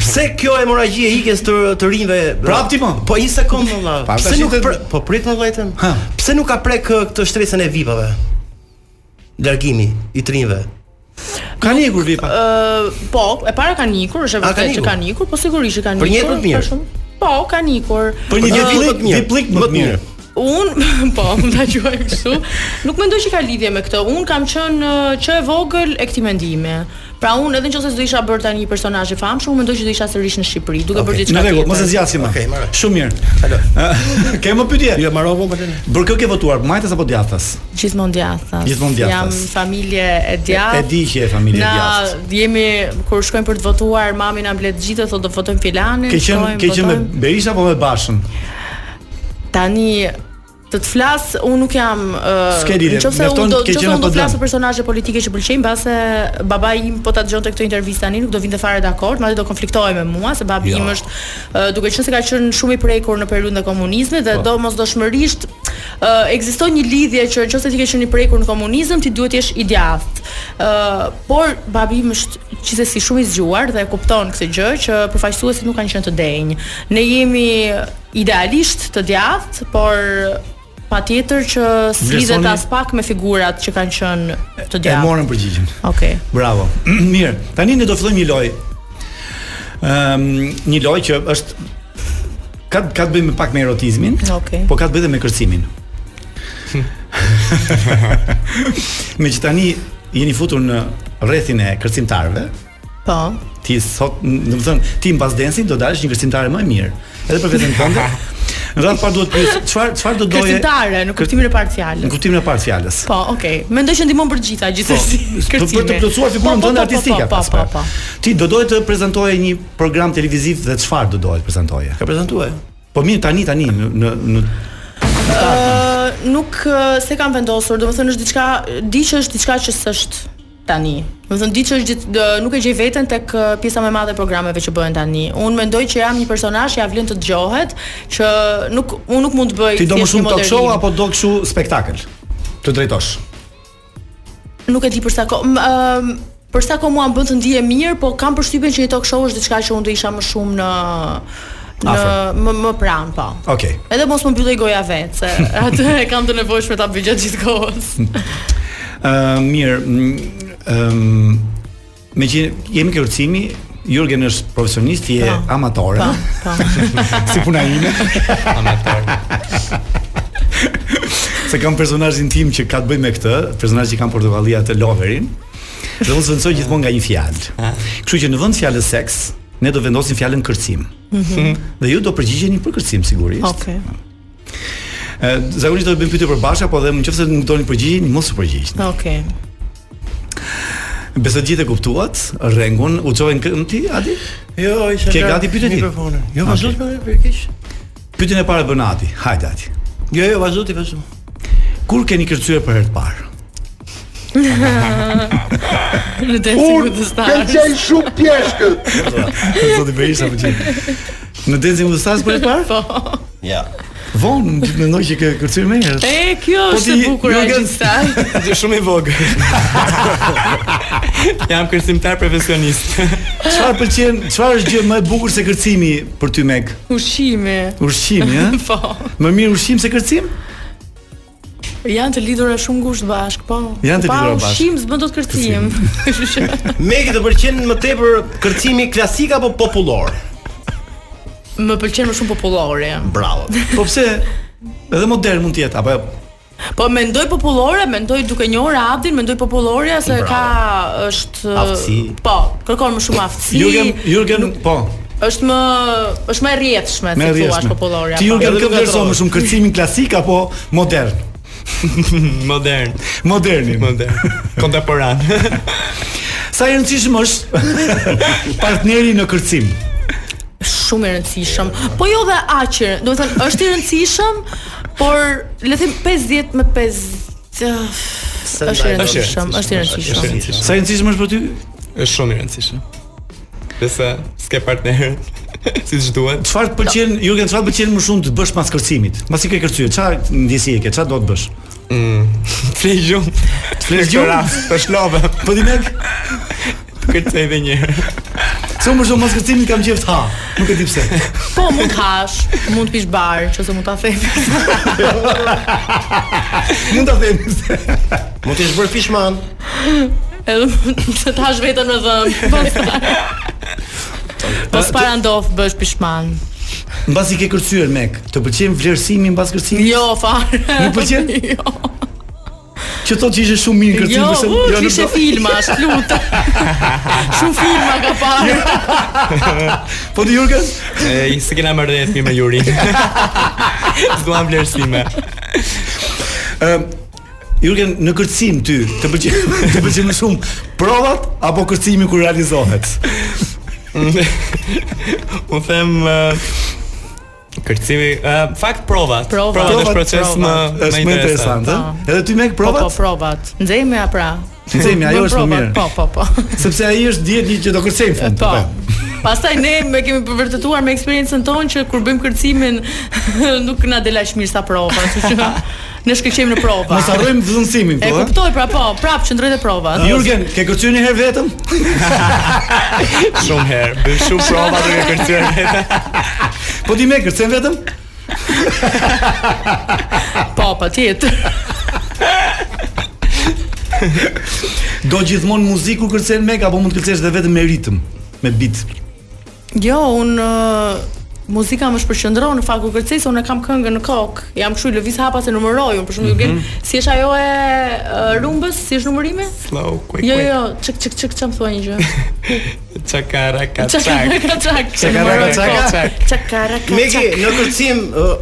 pse kjo hemorragjia e ikjes të të rinjve?
Prap ti, mo?
Po një sekond më valla.
Pa,
Pse
tash
nuk
i të-
pre- po prit më vllajtën? Pse nuk ka prek ë, këtë shtresën e vipave? Largimi i të rinjve.
Ka njegur vipa.
Ë, po, e para kanë ikur, është
A,
e
kanë
vërtetë që
ikur?
kanë ikur, po sigurisht që kanë ikur.
Për një jetë më të mirë.
për shumë- Po, kanë ikur.
Për një
Ë,
vit lëk mirë. Vit lëk më të mirë.
Un po, unë ta quaj kështu. Nuk mendoj që ka lidhje me këtë. Un kam qenë ë, që e vogël e këtij mendimi. Pra unë edhe nëse do isha bërë tani një personazh i famshëm, unë mendoj që do isha sërish në Shqipëri, duke bërë
Në
diçka tjetër.
rregull, mos e zgjasim. më. Shumë mirë. Alo. Ke më pyetje? Jo, marrova më tani. Për kë ke votuar? Majtas apo djathtas?
Gjithmonë djathtas.
Gjithmonë
Jam
djathtas.
familje e djathtë.
E di që je familje e djathtë.
Na jemi kur shkojmë për të votuar, mami na mblet gjithë, thotë do votojmë filanin,
Ke qenë ke qenë me
votojmë.
Berisha apo me Bashën?
Tani të të flas, unë nuk jam uh,
S'ke lidhje,
nëse
mjafton
unë do
ke
nëse
qenë
unë do
apo
të flas
dëm.
për personazhe politike që pëlqejnë, mbase babai im po ta dëgjonte këtë intervistë tani, nuk do vinte fare dakord, madje do konfliktohej me mua se babi
Jo.
im është uh, duke qenë se ka qenë shumë i prekur në periudhën e komunizmit dhe
Po.
domosdoshmërisht uh, ekziston një lidhje që nëse ti ke qenë i prekur në komunizëm, ti duhet të jesh i djathtë. Uh, por babi im është gjithsesi shumë i zgjuar dhe e kupton këtë gjë që përfaqësuesit nuk kanë qenë të denjë. Ne jemi idealisht të djathtë, por patjetër që s'lidhet
Vlerësoni-
as pak me figurat që kanë qenë të
E
djathtë.
morën përgjigjen.
Okej.
Bravo. Mirë. Tani ne do fillojmë një lojë. Ëm, një lojë që është ka ka të bëjë me pak me erotizmin,
Okej.
po ka të bëjë edhe me kërcimin. me që tani jeni futur në rrethin e kërcimtarëve,
Po.
ti sot, do të thënë, ti mbas densit do dalësh një kërcimtare më e mirë. Edhe për veten tënde. Në radhë parë duhet të pyes çfarë çfarë do doje
Kërcimtare në kuptimin e parë të
në
fjalës.
kuptimin e parë të fjalës.
Po, okay. Mendoj që ndihmon për gjitha gjithsesi.
Për Po, për të plotësuar figurën tënde artistike.
Po, po,
pas
po.
pak. Ti do doje të prezantoje një program televiziv dhe çfarë do doje të prezantoje? Ka prezantuar. Po mirë tani tani në në, në
Ë, nuk ë, se kam vendosur, domethënë është diçka, di që është diçka që s'është tani. Domethënë di që është gjith- dë- nuk e gjej veten tek ë, pjesa më e madhe e programeve që bëhen tani. Unë mendoj që jam një personazh që ja vlen të dëgjohet, që nuk unë nuk mund të bëj
ti do më
thjesht një
shumë talk show
modernim.
apo do kështu spektakël? Të drejtosh.
Nuk e di për sa kohë. m- ëm, Për sa kohë mua më bën të ndihem mirë, po kam përshtypjen që një talk show është diçka që unë do isha më shumë në në
Afër.
më, më pranë, po.
Okej.
Edhe mos më mbyllë goja vetë, se atë e kam të nevojshme ta bëj gjatë gjithë kohës.
Ë Ehm, mirë, mm, ëm me që jemi ke urcimi, Jurgen është profesionist, je amatore,
Po, po.
si puna ime. Amator. Se kam personazhin tim që ka të bëjë me këtë, personazh që kam portokallia të Loverin. Dhe unë zvendësoj gjithmonë nga një fjalë. Kështu që në vend të fjalës seks, ne do vendosim fjalën kërcim.
Mhm.
Dhe ju do përgjigjeni për kërcim sigurisht.
Okej.
Ë zakonisht do të bëjmë pyetje për bashkë, po dhe nëse nuk doni përgjigjen, mos u përgjigjni.
Okej.
Besoj gjithë e kuptuat, rrengun, u çohen kënd ti, Adi?
Jo, isha
Ke
larg
gati pyetjet ti? Ah,
mikrofonin. Jo,
Okej.
vazhdo okay. me keq.
Pyetjen e parë bën Adi. Hajde Adi.
Jo, jo, vazhdo ti vazhdo.
Kur keni kërcyer për herë të parë?
Në Dancing with the Stars.
shumë pjeshkët. Zoti Berisha më qenë. Në Dancing with the Stars për herë të parë?
Po.
Ja. Von, mendoj që ke kërcyer më herët.
E, kjo
Po
është
ti,
e bukur e
Jurgen-
gjithsej.
Ti shumë i vogël. Jam kërcimtar profesionist.
Çfarë pëlqen? Çfarë është gjë më e bukur se kërcimi për ty Meg?
Ushqimi.
Ushqimi, ëh?
Po.
Më mirë ushqim se kërcim?
Janë të lidhura shumë ngushtë bashk, po.
Janë të
Pa
lidhura bashk.
Ushqim s'bën dot kërcim.
Megi të pëlqen më tepër kërcimi klasik apo popullor?
Më pëlqen më shumë popullore.
Bravo. Po pse edhe modern mund të jetë apo jo?
Po mendoj popullore, mendoj duke njohur Abdin, mendoj popullore se
Bravo.
ka është
Aftësi.
Po, kërkon më shumë aftësi.
Jurgen, Jurgen, po.
është më është më e rrjedhshme
Me
si thua
rrjeshme.
popullore. po.
Ti
apo?
Jurgen kë vlerëson më shumë kërcimin klasik apo modern?
Modern.
Moderni.
Modern. Kontemporan.
Sa e rëndësishëm është partneri në kërcim?
shumë i rëndësishëm. Po jo dhe aq, i rë- do të thënë është i rëndësishëm, por le të them 50 me 5 është i rëndësishëm, është i rëndësishëm.
Sa e rëndësishëm është për ty?
Është shumë i rëndësishëm. Pse s'ke partner siç duhet.
Çfarë të pëlqen, Jurgen, çfarë të pëlqen më shumë të bësh pas kërcimit? Pasi ke kërcyer, çfarë ndjesi e ke, çfarë do të bësh? Mm.
Flesh gjumë.
Flesh gjumë.
Të shlove.
Po di mek.
Kërcej edhe një herë.
Se unë më shumë pas kërcimit kam qejf të ha. Nuk e di pse.
Po mund të hash, mund të pish bar, nëse mund ta them.
Mund ta them.
Mund të jesh bërë fishman.
Edhe mund të të hash vetën me dhëmë. Po s'para ndof bësh pishman.
Mbas i ke kërcyer mek, të pëlqen vlerësimi mbas kërcimit?
Jo, fare.
Nuk pëlqen? jo. Që thotë që ishte shumë mirë kërcimi,
Jo,
përse-
u,
nuk
kishe
do-
filma, është lutë. Shumë filma ka parë.
po ti Jurgen?
E, se kena marrë rreth mirë me Jurin. S'duam vlerësime.
Ëm Jurgen, në kërcim ty, të pëlqen të pëlqen më shumë provat apo kërcimi kur realizohet?
Unë them uh, kërcimi, uh, fakt provat. provat është proces më
është më interesant, ëh? Edhe ty mek
Po,
provat?
po, provat. Nxemja pra.
Nxemja, ajo është më
provat,
mirë.
Po, po, po.
Sepse ai është diet një që do kërcej në fund. Po.
Pastaj ne me kemi përvërtetuar me eksperiencën tonë që kur bëjmë kërcimin nuk na del aq mirë sa prova, kështu që ne shkëlqejmë në prova.
Mos harrojmë vëllëmsimin
E
këtu, ëh?
kuptoj pra po, prap qëndroj te prova.
Jurgen, ke kërcyer një herë vetëm?
Shumë herë, bën shumë prova duke kërcyer vetë.
Po ti me kërcen vetëm?
Po, patjetër.
Do gjithmonë muzikë kur kërcen me apo mund të kërcesh edhe vetëm me ritëm, me beat.
Jo, un muzika më shpërqendron në fakt kur kërcej se unë kam këngën në kokë. Jam kështu lëviz hapa se numëroj, unë për
Mhm.
shembull mm si është ajo e e, rumbës, si është numërimi?
Oh,
Slow, quick,
Jo,
quick.
jo, çik çik çik çam thua një gjë.
Çakara ka
Çak
çak.
çak çak.
Çakara ka çak.
Çak çak.
Megi në kërcim ë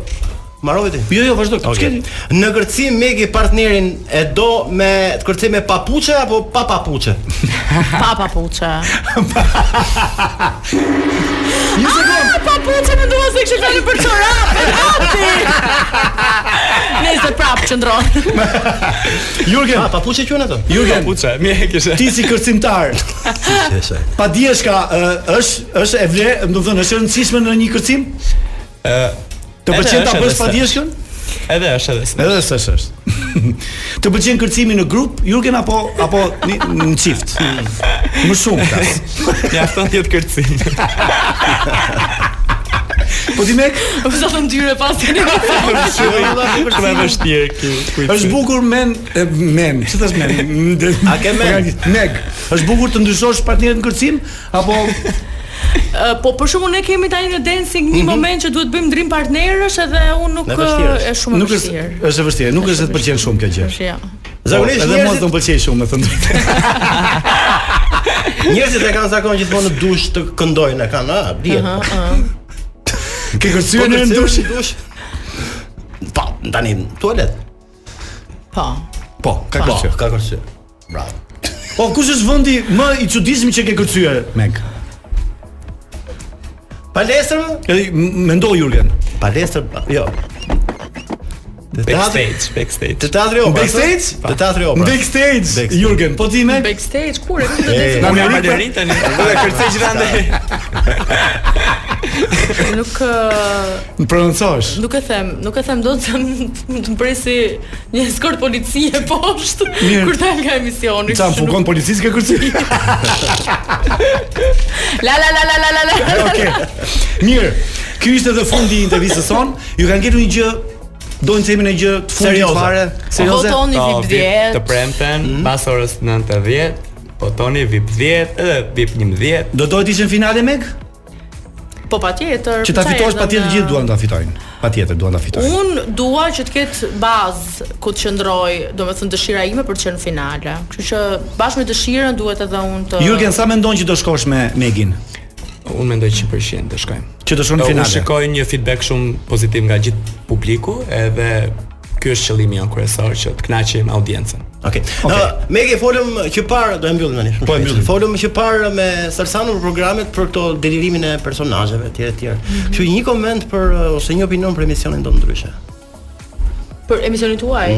Mbarove ti?
Jo, jo, vazhdo.
Okay. Në kërcim Megi partnerin e do me të kërcej me papuçe apo pa papuçe?
Pa papuça. Një sekond. Ah, papuça më duhet se kishte fjalë për çorape. Api. Nëse prap qëndron.
Jurgen.
Ah,
Pa papuçe quhen ato?
Jurgen,
Papuça, mirë kishe.
ti si kërcimtar, pa diesh ka ë, është është e vlerë, do të thënë, është e rëndësishme në një kërcim? Të
Edhe
pëlqen ta
është,
bësh
edhe
pa
se.
dieshkën?
Edhe është edhe. se.
Edhe s'është është. të pëlqen kërcimi në grup, Jurgen apo apo në në çift? Më shumë ka.
Mjafton ti të kërcim.
Po ti mek,
U zotëm dyre pas të një
Shumë e vështirë kjo.
është bukur men e, men. Si thash men? A ke men? Meg. Është bukur të ndryshosh partnerin në kërcim apo
Ë, Po për shkakun ne kemi tani në dancing
Mhm.
një moment që duhet bëjmë ndrim partnerësh edhe unë nuk
Në vështirë
ë,
është.
e shumë e
nuk është
vështirë.
është e vështirë, nuk është se të pëlqen shumë kjo gjë.
Është, Ja.
Po,
Zakonisht
edhe mua
njerëzit-
do të pëlqej shumë, me thënë. drejtën.
Njerëzit e kanë zakon gjithmonë në dush të këndojnë, e kanë, a, dihet.
Aha, aha.
Ke
Po
kërcyer në
kërcim
ndush?
dush. Pa, tani në tualet.
Po.
Po, ka
Po,
kërcyer.
ka kërcy. Bravo.
Po kush është vendi më i çuditshëm që ke kërcyer, Meg?
Palestër? më?
Edhe m- mendoj Jurgen.
Palestër, jo.
Backstage, backstage.
Te teatri opera.
Backstage?
Te teatri opera.
Backstage,
Backstage.
Jurgen, po ti Meg?
Backstage kur e këtë
E,
dancing
Unë jam
Amerikë-
balerin tani. Unë kërcej gjithandaj.
nuk ë,
Më prononcosh.
Nuk e them, nuk e them dot se m- të mpresi një eskort policie poshtë
Mirë.
kur dal nga emisioni.
Sa më
kështu që
fukon policisë ke kërcy.
nuk- La la la la la la la.
Okej. Mirë. Ky ishte edhe fundi i intervistës son. Ju kanë ngelur një gjë Dojnë të themi në gjë të fundit
Serioze.
fare Serioze
Votoni
Po,
VIP
vip
10.
Të premten, pas orës 9:10, po toni VIP 10 edhe VIP 11.
Do dojtë ishën finale Meg?
Po patjetër.
Që ta
pse
fitosh
erdhëm
pa tjetër
në-
gjithë duan ta fitojnë Pa tjetër duan ta fitojnë
Un dua që të ketë bazë ku të qëndroj, domethënë dëshira ime për të qenë në finale. Kështu që bashkë me dëshirën duhet edhe unë të
Jurgen, sa mendon që do shkosh me Megin?
Unë mendoj 100% të shkojmë.
Që të shkon
Po,
Unë
në finale?
Po, shikoj një feedback shumë pozitiv nga gjithë publiku, edhe ky është qëllimi jon kryesor që të knaqim audiencën.
Okej. Okay. Uh, Megi folëm që parë do e mbyllim tani. Po e mbyllim. Folëm që parë me Sarsanun për programet për këto delirimin e personazheve etj etj.
Mhm.
Kështu një koment për uh, ose një opinion për emisionin do ndryshe.
për emisionin tuaj.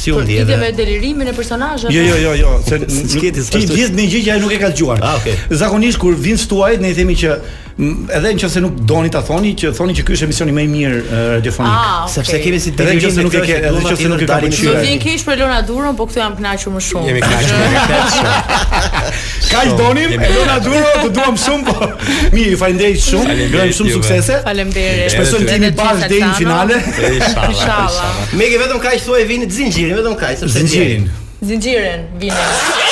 Si u
Për ide me
Mm. ndjeve?
delirimin e personazheve.
Jo, jo, jo, jo, se
Sketi,
ti
s'pashtu-
vjen me gjë që ai nuk e ka dëgjuar.
Ah, okay.
Zakonisht kur vin stuaj ne i themi që m, edhe nëse nuk doni ta thoni që thoni që ky është emisioni më i mirë e, radiofonik.
Ah, okay.
Sepse kemi si
Edhe nëse
delirim
nuk e ke- edhe nëse nuk e ka
Do
pëlqyer.
vjen keq për Lona Durrën, po këtu jam kënaqur më shumë.
Jemi knaqur.
Kaq donim,
jemi-
Elona Duro, të duam shumë po. Mirë, ju falenderoj shumë.
Faleminderit
Urojmë shumë
juve.
suksese.
Faleminderit.
Shpresojmë
Edhe
të jemi
ty.
bashkë deri në finale.
Inshallah.
Inshallah.
inshallah.
Megi vetëm kaq thuaj vini të zinxhirin, vetëm kaq sepse
Zinxhirin.
Zinxhirin vini.